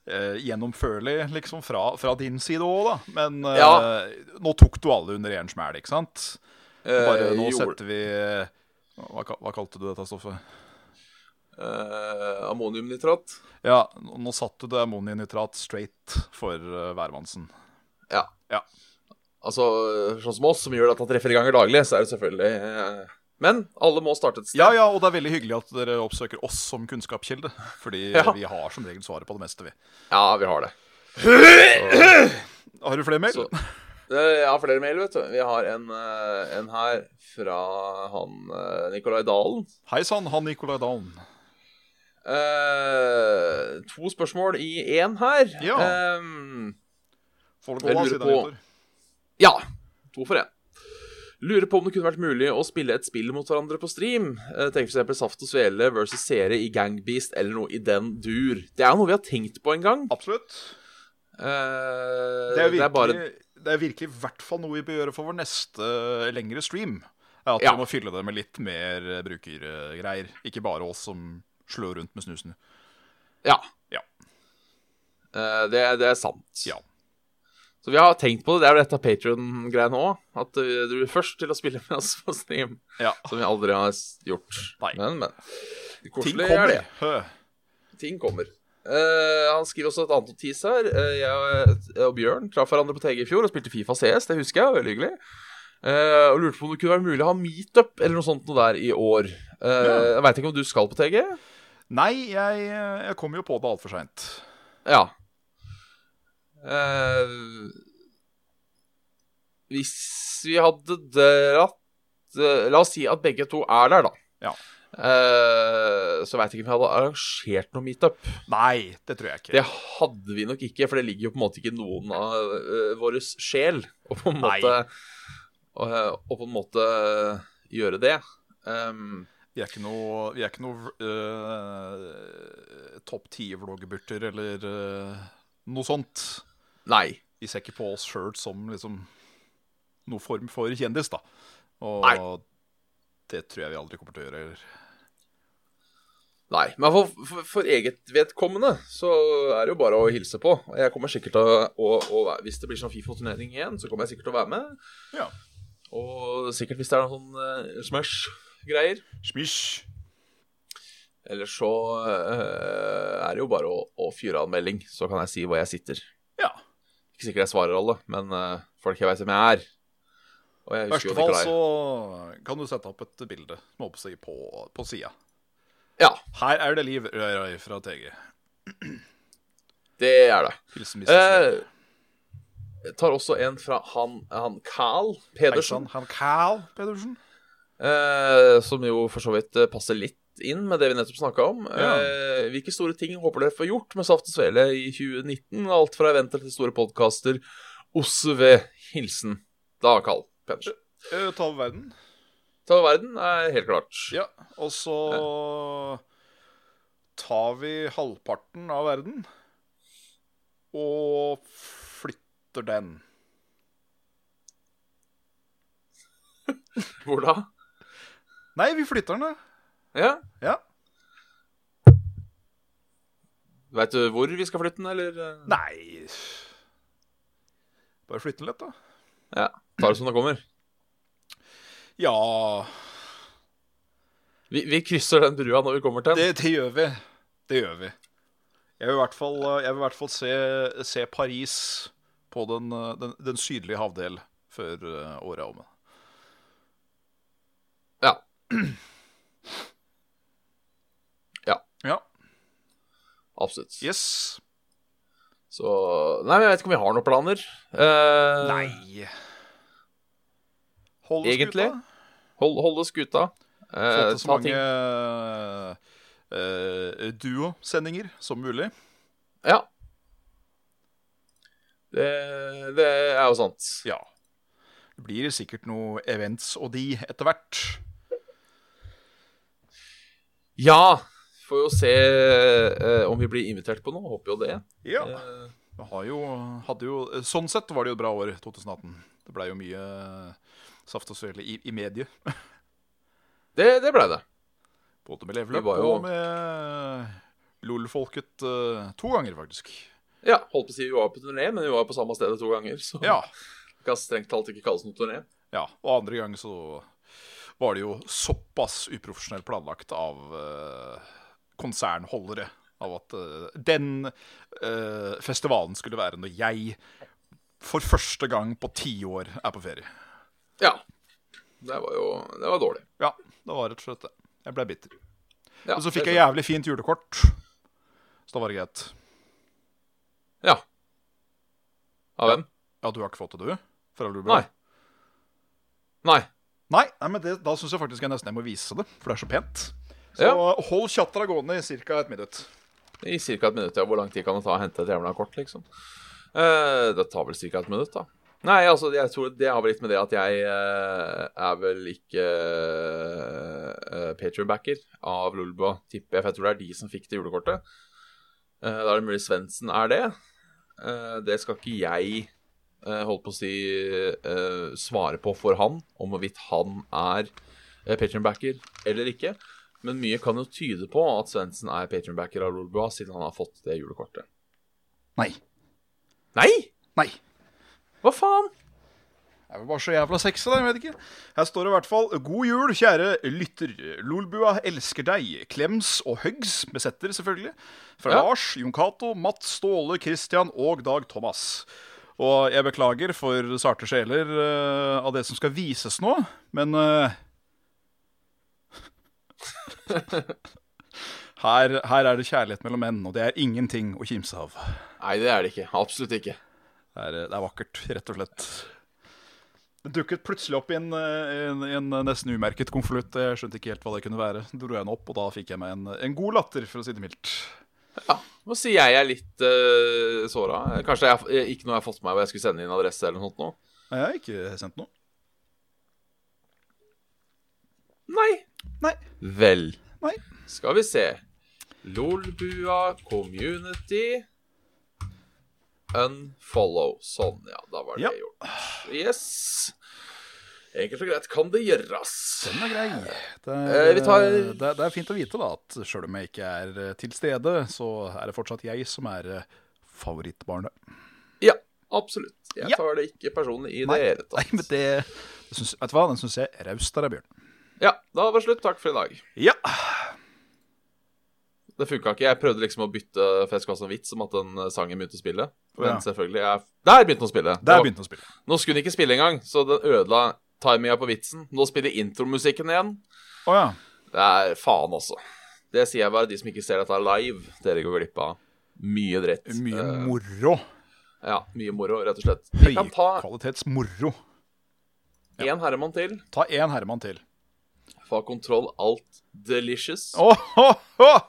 eh, gjennomførlig, liksom, fra, fra din side òg, da. Men eh, Ja. nå tok du alle under én smell, ikke sant? Bare Eh, nå jord- setter vi eh, hva, ka- hva kalte du dette stoffet? eh, ammoniumnitrat. Ja, nå nå satte du det ammoniumnitrat straight for eh, hvermannsen. Ja. Ja. Altså, sånn som oss, som gjør dette tre-fire ganger daglig, så er det selvfølgelig eh, Men alle må starte et sted. Ja, ja, og det er veldig hyggelig at dere oppsøker oss som kunnskapskilde. Fordi Ja. vi har som regel svaret på det meste, vi. Ja, vi har det. Har du flere mail? Så- Eh, Jeg har flere mail, vet du. Vi har en, eh, en her fra han eh, Nicolai Dalen. Hei sann, han Nicolai Dahlen. Eh, to spørsmål i én her. Ja. Eh, Får det Jeg gå, da, lurer siden på- Victor. Ja. To for én. Lurer på om det kunne vært mulig å spille et spill mot hverandre på stream. Eh, Tenk f.eks. Saft og Svele versus Sere i Gangbeast eller noe i den dur. Det er jo noe vi har tenkt på en gang. Absolutt. Eh, Det er, virkelig, det, er bare virkelig i hvert fall noe vi bør gjøre for vår neste eh, lengre stream. Er at Ja. vi må fylle det med litt mer eh, brukergreier. Ikke bare oss som slår rundt med snusen. Ja. Ja. Eh, det, det er sant. Ja. Så vi har tenkt på det. Det er jo dette Patrion-greia nå. At eh, du er først til å spille med oss på stream. Ja. Som vi aldri har s- gjort. Nei. Men, men. Ting Koselig er kommer. det. Hø. Ting kommer. Eh, han skriver også et annet notis her. Eh, jeg og Bjørn traff hverandre på TG i fjor og spilte Fifa CS. Det husker jeg. Veldig hyggelig. Eh, og lurte på om det kunne være mulig å ha meetup eller noe sånt noe der i år. Eh, Jeg veit ikke om du skal på TG? Nei, jeg, eh, jeg kom jo på det altfor seint. Ja. Eh, hvis vi hadde dratt eh, La oss si at begge to er der, da. Ja. Eh, så veit jeg ikke om vi hadde arrangert noe meetup. Nei, det tror jeg ikke. Det hadde vi nok ikke, for det ligger jo på en måte ikke i noen av uh, vår sjel å på en Nei. måte å, eh, å på en måte eh, gjøre det. Um, Vi er ikke noe, vi er ikke noe eh, topp ti-vloggeburter eller eh, noe sånt. nei. Vi ser ikke på oss sjøl som liksom noe form for kjendis, da. Og Nei. det tror jeg vi aldri kommer til å gjøre. heller. Nei, men for, for, for eget vedkommende så er det jo bare å hilse på. Og Jeg kommer sikkert til å, å, å være- Hvis det blir sånn Fifa-turnering igjen, så kommer jeg sikkert til å være med. Ja. Og sikkert hvis det er noen sånn eh, Smash-greier. Smish. Eller så eh, er det jo bare å, å fyre av en melding, så kan jeg si hvor jeg sitter. Ja. Ikke sikkert jeg svarer alle, men eh, folk jeg veit hvem jeg er. Og jeg I husker jo verste fall Nikolai. så kan du sette opp et bilde småpåsi, på, på sida. Ja, Her er det liv, røy, røy fra TG. det er det. Hilsen Mr. Smith. Eh, jeg tar også en fra han, han Carl Pedersen. Heisan, han Carl Pedersen. Eh, som jo for så vidt eh, passer litt inn med det vi nettopp snakka om. Ja. Eh, hvilke store ting håper dere får gjort med Saft og Svele i 2019? Alt fra eventer til store podkaster. OSV. Hilsen da, Carl Pedersen. Eh, ta over verden. Ta over verden er helt klart. Ja, og så tar vi halvparten av verden og flytter den. Hvor da? Nei, vi flytter den, da. Ja. Ja. Veit du hvor vi skal flytte den, eller? eh? Nei Bare flytte den litt, da. Ja, Tar det som det kommer. Ja, Vi, vi krysser den brua når vi kommer til den. det, det gjør vi. Det gjør vi. Jeg vil i hvert fall, eh, jeg vil i hvert fall se, se Paris på den, eh, den, den sydlige havdel før eh, året er omme. Ja. Ja. Absolutt. Yes. Så Nei, men jeg vet ikke om vi har noen planer. Eh, Nei. Hold oss, Egentlig? gutta. Hold, holde skuta. Eh, Få til så ta mange ting. eh, duo-sendinger som mulig. Ja. Det, det er jo sant. Ja. Det blir sikkert noe events og de etter hvert. Ja! Får jo se eh, om vi blir invitert på noe. Håper jo det. Ja. Eh, Vi har jo, hadde jo, sånn sett var det jo et bra år, 2018. Det blei jo mye saft og svele i, i mediet. det det blei det. Både med Level Det Up var jo- og med LOL-folket eh, to ganger, faktisk. Ja, holdt på å si vi var på turné, men vi var på samme stedet to ganger. Så Ja. det kan strengt talt ikke kalles noen turné. Ja, og andre gang så var det jo såpass uprofesjonelt planlagt av eh, konsernholdere av at eh, den eh, festivalen skulle være når jeg for første gang på ti år er på ferie. Ja. Det var jo Det var dårlig. Ja, det var rett og slett det. Jeg ble bitter. Ja, Men så fikk det- jeg jævlig fint julekort, så da var det greit. Ja. Av hvem? Ja, du har ikke fått det, du? Fra Lulebø? Nei. Nei. Nei, nei, men det, da syns jeg faktisk jeg nesten jeg må vise det, for det er så pent. Så hold chattera gående i ca. et minutt. I ca. et minutt, ja. Hvor lang tid kan det ta å hente et jævla kort, liksom? Eh, det tar vel ca. et minutt, da. Nei, altså, jeg tror det har blitt med det at jeg eh, er vel ikke uh, patrionbacker av Lulboa, tipper jeg. For jeg tror det er de som fikk det julekortet. Eh, da er det mulig Svendsen er det. Eh, det skal ikke jeg eh, holdt på å si eh, svare på for han, om hvorvidt han er uh, patrionbacker eller ikke. Men mye kan jo tyde på at Svendsen er patronbacker av Lolbua, siden han har fått det julekortet. Nei. Nei! Nei. Hva faen? Jeg var bare så jævla sexy, da. Jeg vet ikke. Her står det i hvert fall 'God jul, kjære lytter'. Lolbua elsker deg. Klems og hugs, med setter, selvfølgelig. Fra Ja. Lars, Jon Cato, Matt, Ståle, Christian og Dag Thomas. Og jeg beklager for sarte sjeler eh, av det som skal vises nå, men eh, her, her er det kjærlighet mellom menn, og det er ingenting å kimse av. Nei, det er det ikke. Absolutt ikke. Det er, det er vakkert, rett og slett. Det dukket plutselig opp i en, eh, en, en nesten umerket konvolutt. Jeg skjønte ikke helt hva det kunne være. Dro jeg den opp, og da fikk jeg meg en, en god latter, for å si det mildt. Ja, Nå sier jeg jeg er litt uh, såra. Kanskje jeg, eh, ikke noe jeg har fått med meg hvor jeg skulle sende inn adresse eller noe sånt nå. Nei, jeg har ikke sendt noe. Nei. Nei. Vel. Nei. Skal vi se. Lolbua community unfollow. Sånn, ja. Da var det Ja. gjort. Yes. Enkelt og greit kan det gjøres. Den er grei. Det Eh, er, vi tar- det, det er fint å vite da at sjøl om jeg ikke er eh, til stede, så er det fortsatt jeg som er eh, favorittbarnet. Ja, absolutt. Jeg Ja. tar det ikke personlig i Nei, det hele nei, men tatt. det, det syns, Vet du hva, den syns jeg er raust av deg, Bjørn. Ja, da var det slutt. Takk for i dag. Ja. Det funka ikke. Jeg prøvde liksom å bytte, for jeg skulle ha sånn vits om at den eh, sangen begynte å spille. Men Ja. selvfølgelig jeg... Der begynte den å spille! Det Der var- begynte han å spille. Nå skulle den ikke spille engang, så den ødela timinga på vitsen. Nå spiller intromusikken igjen. Å ja. Det er faen, altså. Det sier jeg bare de som ikke ser dette live. Dere går glipp av mye dritt. Mye Eh, moro. ja, mye moro, rett og slett. Vi kan ta Høykvalitetsmoro. én herremann til. Ta én Herman til. Fa kontroll alt delicious. Å, å, å!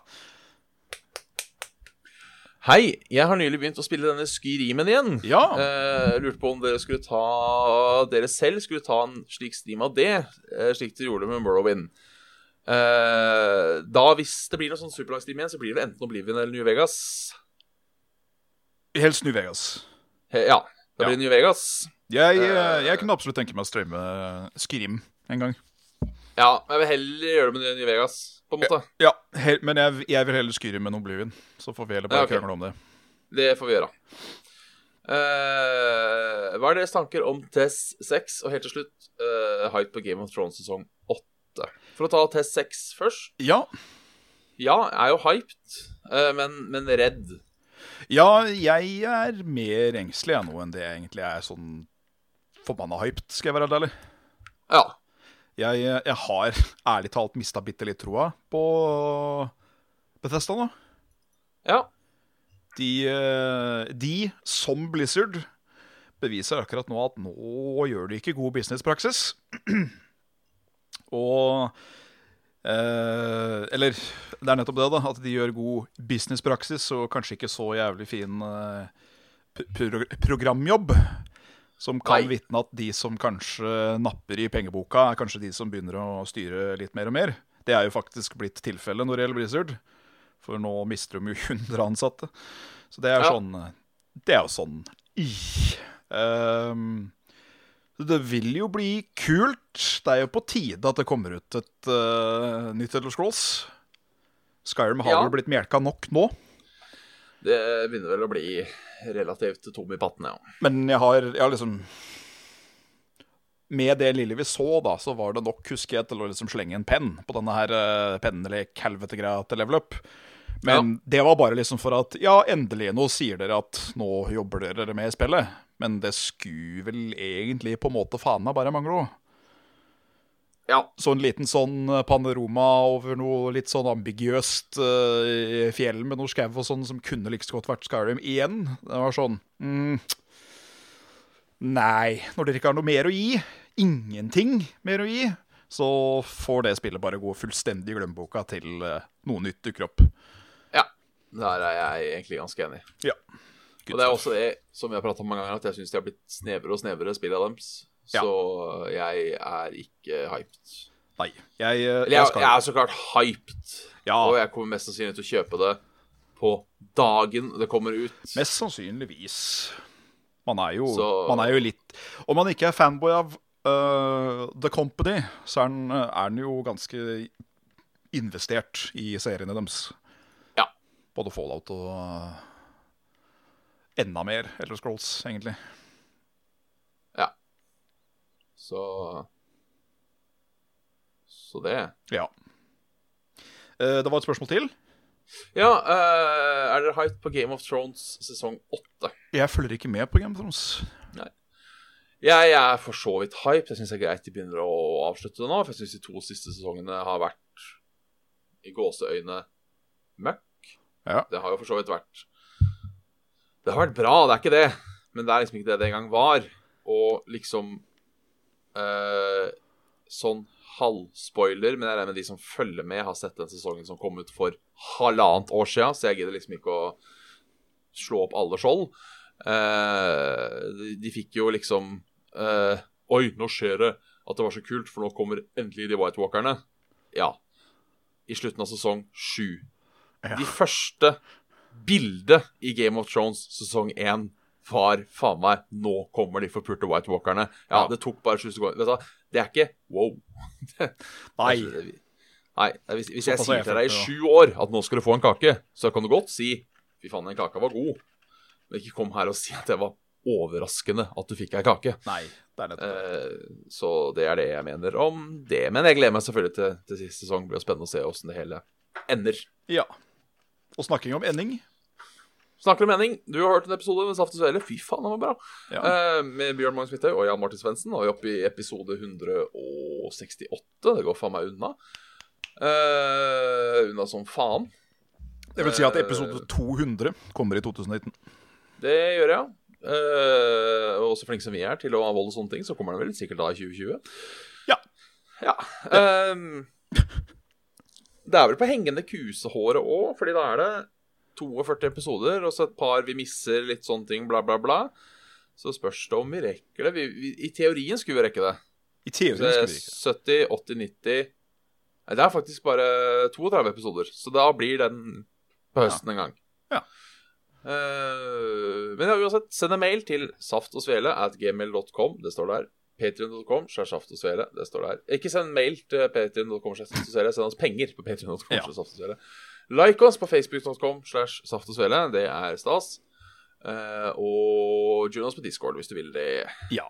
Hei, jeg har nylig begynt å spille denne Skyrimen igjen. Ja. Eh, lurte på om dere skulle ta Dere selv skulle ta en slik stream av det, eh, slik dere gjorde med Morrowind. Eh, da, hvis det blir noen sånn superlang stream igjen, så blir det enten Oblivion eller New Vegas. Helst New Vegas. He, ja, da Ja. blir det New Vegas. Jeg, eh, jeg kunne absolutt tenke meg å streame eh, Skrim en gang. Ja, men jeg vil heller gjøre det med New Vegas, på en måte. Ja, hel, Men jeg, jeg vil heller Skyrim enn Oblivion. Så får vi heller bare Ja, ok. krangle om det. Det får vi gjøre. Eh, hva er deres tanker om Tess 6? Og helt til slutt, eh, hype på Game of Thrones sesong 8. For å ta Tess 6 først. Ja, Ja, jeg er jo hyped, eh, men, men redd. ja jeg er mer engstelig jeg nå enn det jeg egentlig er sånn forbanna hyped, skal jeg være helt ærlig. Ja. Jeg, eh, jeg har ærlig talt mista bitte litt troa på Bethesda nå. Ja. De, eh, de, som Blizzard, beviser akkurat nå at nå gjør de ikke god businesspraksis. Og eh, Eller det er nettopp det, da. At de gjør god businesspraksis og kanskje ikke så jævlig fin eh, p- pro programjobb. Som kan Nei. vitne at de som kanskje napper i pengeboka, er kanskje de som begynner å styre litt mer og mer. Det er jo faktisk blitt tilfellet når det gjelder Blizzard. For nå mister de jo 100 ansatte. Så det er Ja. sånn Det er jo sånn i. Ehm, så det vil jo bli kult. Det er jo på tide at det kommer ut et eh, nytt Elder Scrolls. Skyrim har Ja. vel blitt melka nok nå. Det begynner vel å bli relativt tom i pattene, ja. Men jeg har, jeg har liksom Med det lille vi så, da, så var det nok, husker jeg, til å liksom slenge en penn på denne her uh, pennelek-helvete-greia til level up. Men det var bare liksom for at Ja, endelig, nå sier dere at nå jobber dere med spillet. Men det skulle vel egentlig på en måte faen meg bare mangle òg. Ja. Så en liten sånn panorama over noe litt sånn ambiguøst eh, fjell med noe skau og sånn, som kunne like så godt vært Skyrim igjen. Det var sånn mm, Nei, når dere ikke har noe mer å gi, ingenting mer å gi, så får det spillet bare gå fullstendig i glemmeboka til eh, noe nytt dukker opp. ja. Der er jeg egentlig ganske enig. Ja. Og det er også det som vi har pratet om mange ganger, at jeg syns de har blitt snevrere og snevrere, spillene deres. Ja. Så jeg er ikke hyped. Nei. Jeg, eh, Eller jeg, skal- jeg er så klart hyped, Ja. og jeg kommer mest sannsynlig til å kjøpe det på dagen det kommer ut. Mest sannsynligvis. Man er jo, Så- man er jo litt Om man ikke er fanboy av øh, The Company, så er den, øh, er den jo ganske investert i seriene deres. Ja. Både Fallout og øh, enda mer Elder Scrolls, egentlig. Ja. Så Så det. Ja. Eh, det var et spørsmål til. Ja, eh, er dere hyped på Game of Thrones sesong åtte? Jeg følger ikke med på Game of Thrones. Jeg er for så vidt hyped. Jeg syns det er greit de begynner å avslutte det nå. For jeg syns de to siste sesongene har vært i gåseøyne møkk. Ja. Det har jo for så vidt vært Det har vært bra, det er ikke det. Men det er liksom ikke det det en gang var. Og liksom eh, Sånn halvspoiler, men jeg regner med de som følger med, har sett den sesongen som kom ut for halvannet år sia, så jeg gidder liksom ikke å slå opp alle skjold. Eh, de, de fikk jo liksom eh, Oi, nå skjer det! At det var så kult, for nå kommer endelig de White Walkerne. Ja. I slutten av sesong sju. Ja. De første bildet i Game of Thrones sesong én var faen meg Nå kommer de forpulte White Walkerne. Ja, Ja. det tok bare 20 sekunder. Vet du hva, Det er ikke wow. Det- Nei. Nei, hvis, hvis jeg Såpass sier har jeg til deg i følt sju år at nå skal du få en kake, så kan du godt si Fy faen, den kaka var god. Men ikke kom her og si at det var overraskende at du fikk ei kake. Nei. Det er nettopp det. Eh, Så det er det jeg mener om det. Men jeg gleder meg selvfølgelig til, til siste sesong. Det blir jo spennende å se åssen det hele ender. Ja. Og snakking om ending Snakker om mening. Du har hørt en episode med Saft og Svele. Fy faen, den var bra. ja. Eh, med Bjørn Magnus Midthaug og Jan Martin Svendsen. Og vi er oppe i episode 168. Det går faen meg unna. Eh, unna som faen. Det vil si øh. at episode 200 kommer i 2019. Det gjør jeg, ja. Eh, og så flinke som vi er til å avholde sånne ting, så kommer den vel sikkert da i 2020. Ja. Ja. ehm, det er vel på hengende kusehåret òg, fordi da er det 42 episoder, og så et par vi misser, litt sånne ting, bla, bla, bla. Så spørs det om vi rekker det. Vi, vi, I teorien skulle vi rekke det. I teorien Så det er skulle vi 70, 80, 90 ikke. Nei, det er faktisk bare 32 episoder, så da blir den på høsten en gang. Ja. Eh, men ja, uansett, send en mail til saftogsvele at gmail.com. Det står der. Patrion.com slash saftogsvele. Det står der. Ikke send mail til patrion.com slash saftogsvele. Send oss penger på patrion.com Ja. slash saftogsvele. Like oss på facebook.com slash saftogsvele. Det er stas. Eh, og join oss på Discord hvis du vil det. Ja.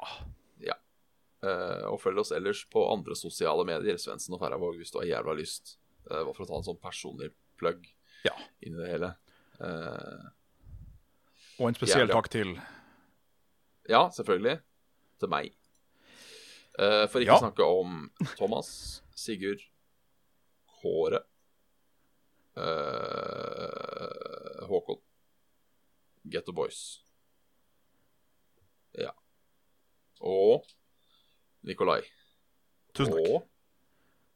Eh, og følg oss ellers på andre sosiale medier. Svendsen og Færhavåg hvis du har jævla lyst. Eh, bare for å ta en sånn personlig plugg Ja. inn i det hele. Eh, Og en spesiell Jævlig. takk til ja, selvfølgelig. Til meg. Eh, for ikke Ja. å snakke om Thomas, Sigurd, Kåre eh, Håkon. Getto Boys. Ja. Og Nikolai. Tusen takk. Og,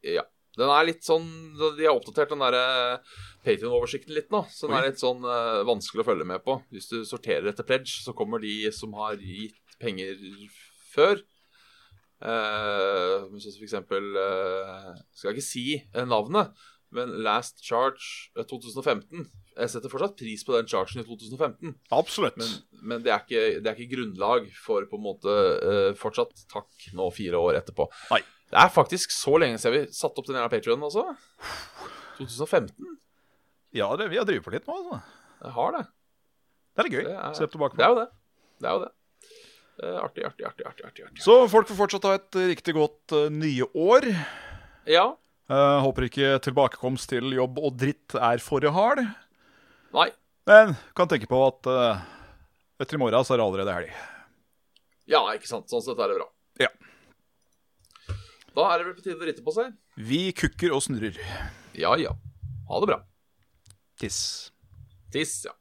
ja. Den er litt sånn De har oppdatert den der Patrion-oversikten litt nå, så den Oi. er litt sånn eh, vanskelig å følge med på. Hvis du sorterer etter pledge, så kommer de som har gitt penger før. Eh, så for eksempel eh, Skal jeg ikke si eh, navnet, men Last Charge eh, 2015. Jeg setter fortsatt pris på den chargen i 2015. Absolutt. Men, men det, er ikke, det er ikke grunnlag for på en måte eh, fortsatt takk nå fire år etterpå. Nei. Det er faktisk så lenge siden vi satte opp den jævla Patreon også. 2015. Ja, det, vi har drevet på litt nå, altså. Jeg har det. Det er litt gøy. Det er- Se tilbake Det på. er jo det. Det er jo det. Eh, artig, artig, artig, artig. artig, artig. Så folk får fortsatt ha et eh, riktig godt eh, nye år. Ja. Eh, håper ikke tilbakekomst til jobb og dritt er for hard. Nei. Men kan tenke på at eh, etter i morgen så er det allerede helg. Ja, ikke sant. Sånn sett er det bra. Ja. Da er det vel på tide å ritte på seg. Vi kukker og snurrer. Ja ja. Ha det bra. Tiss. Tiss, ja.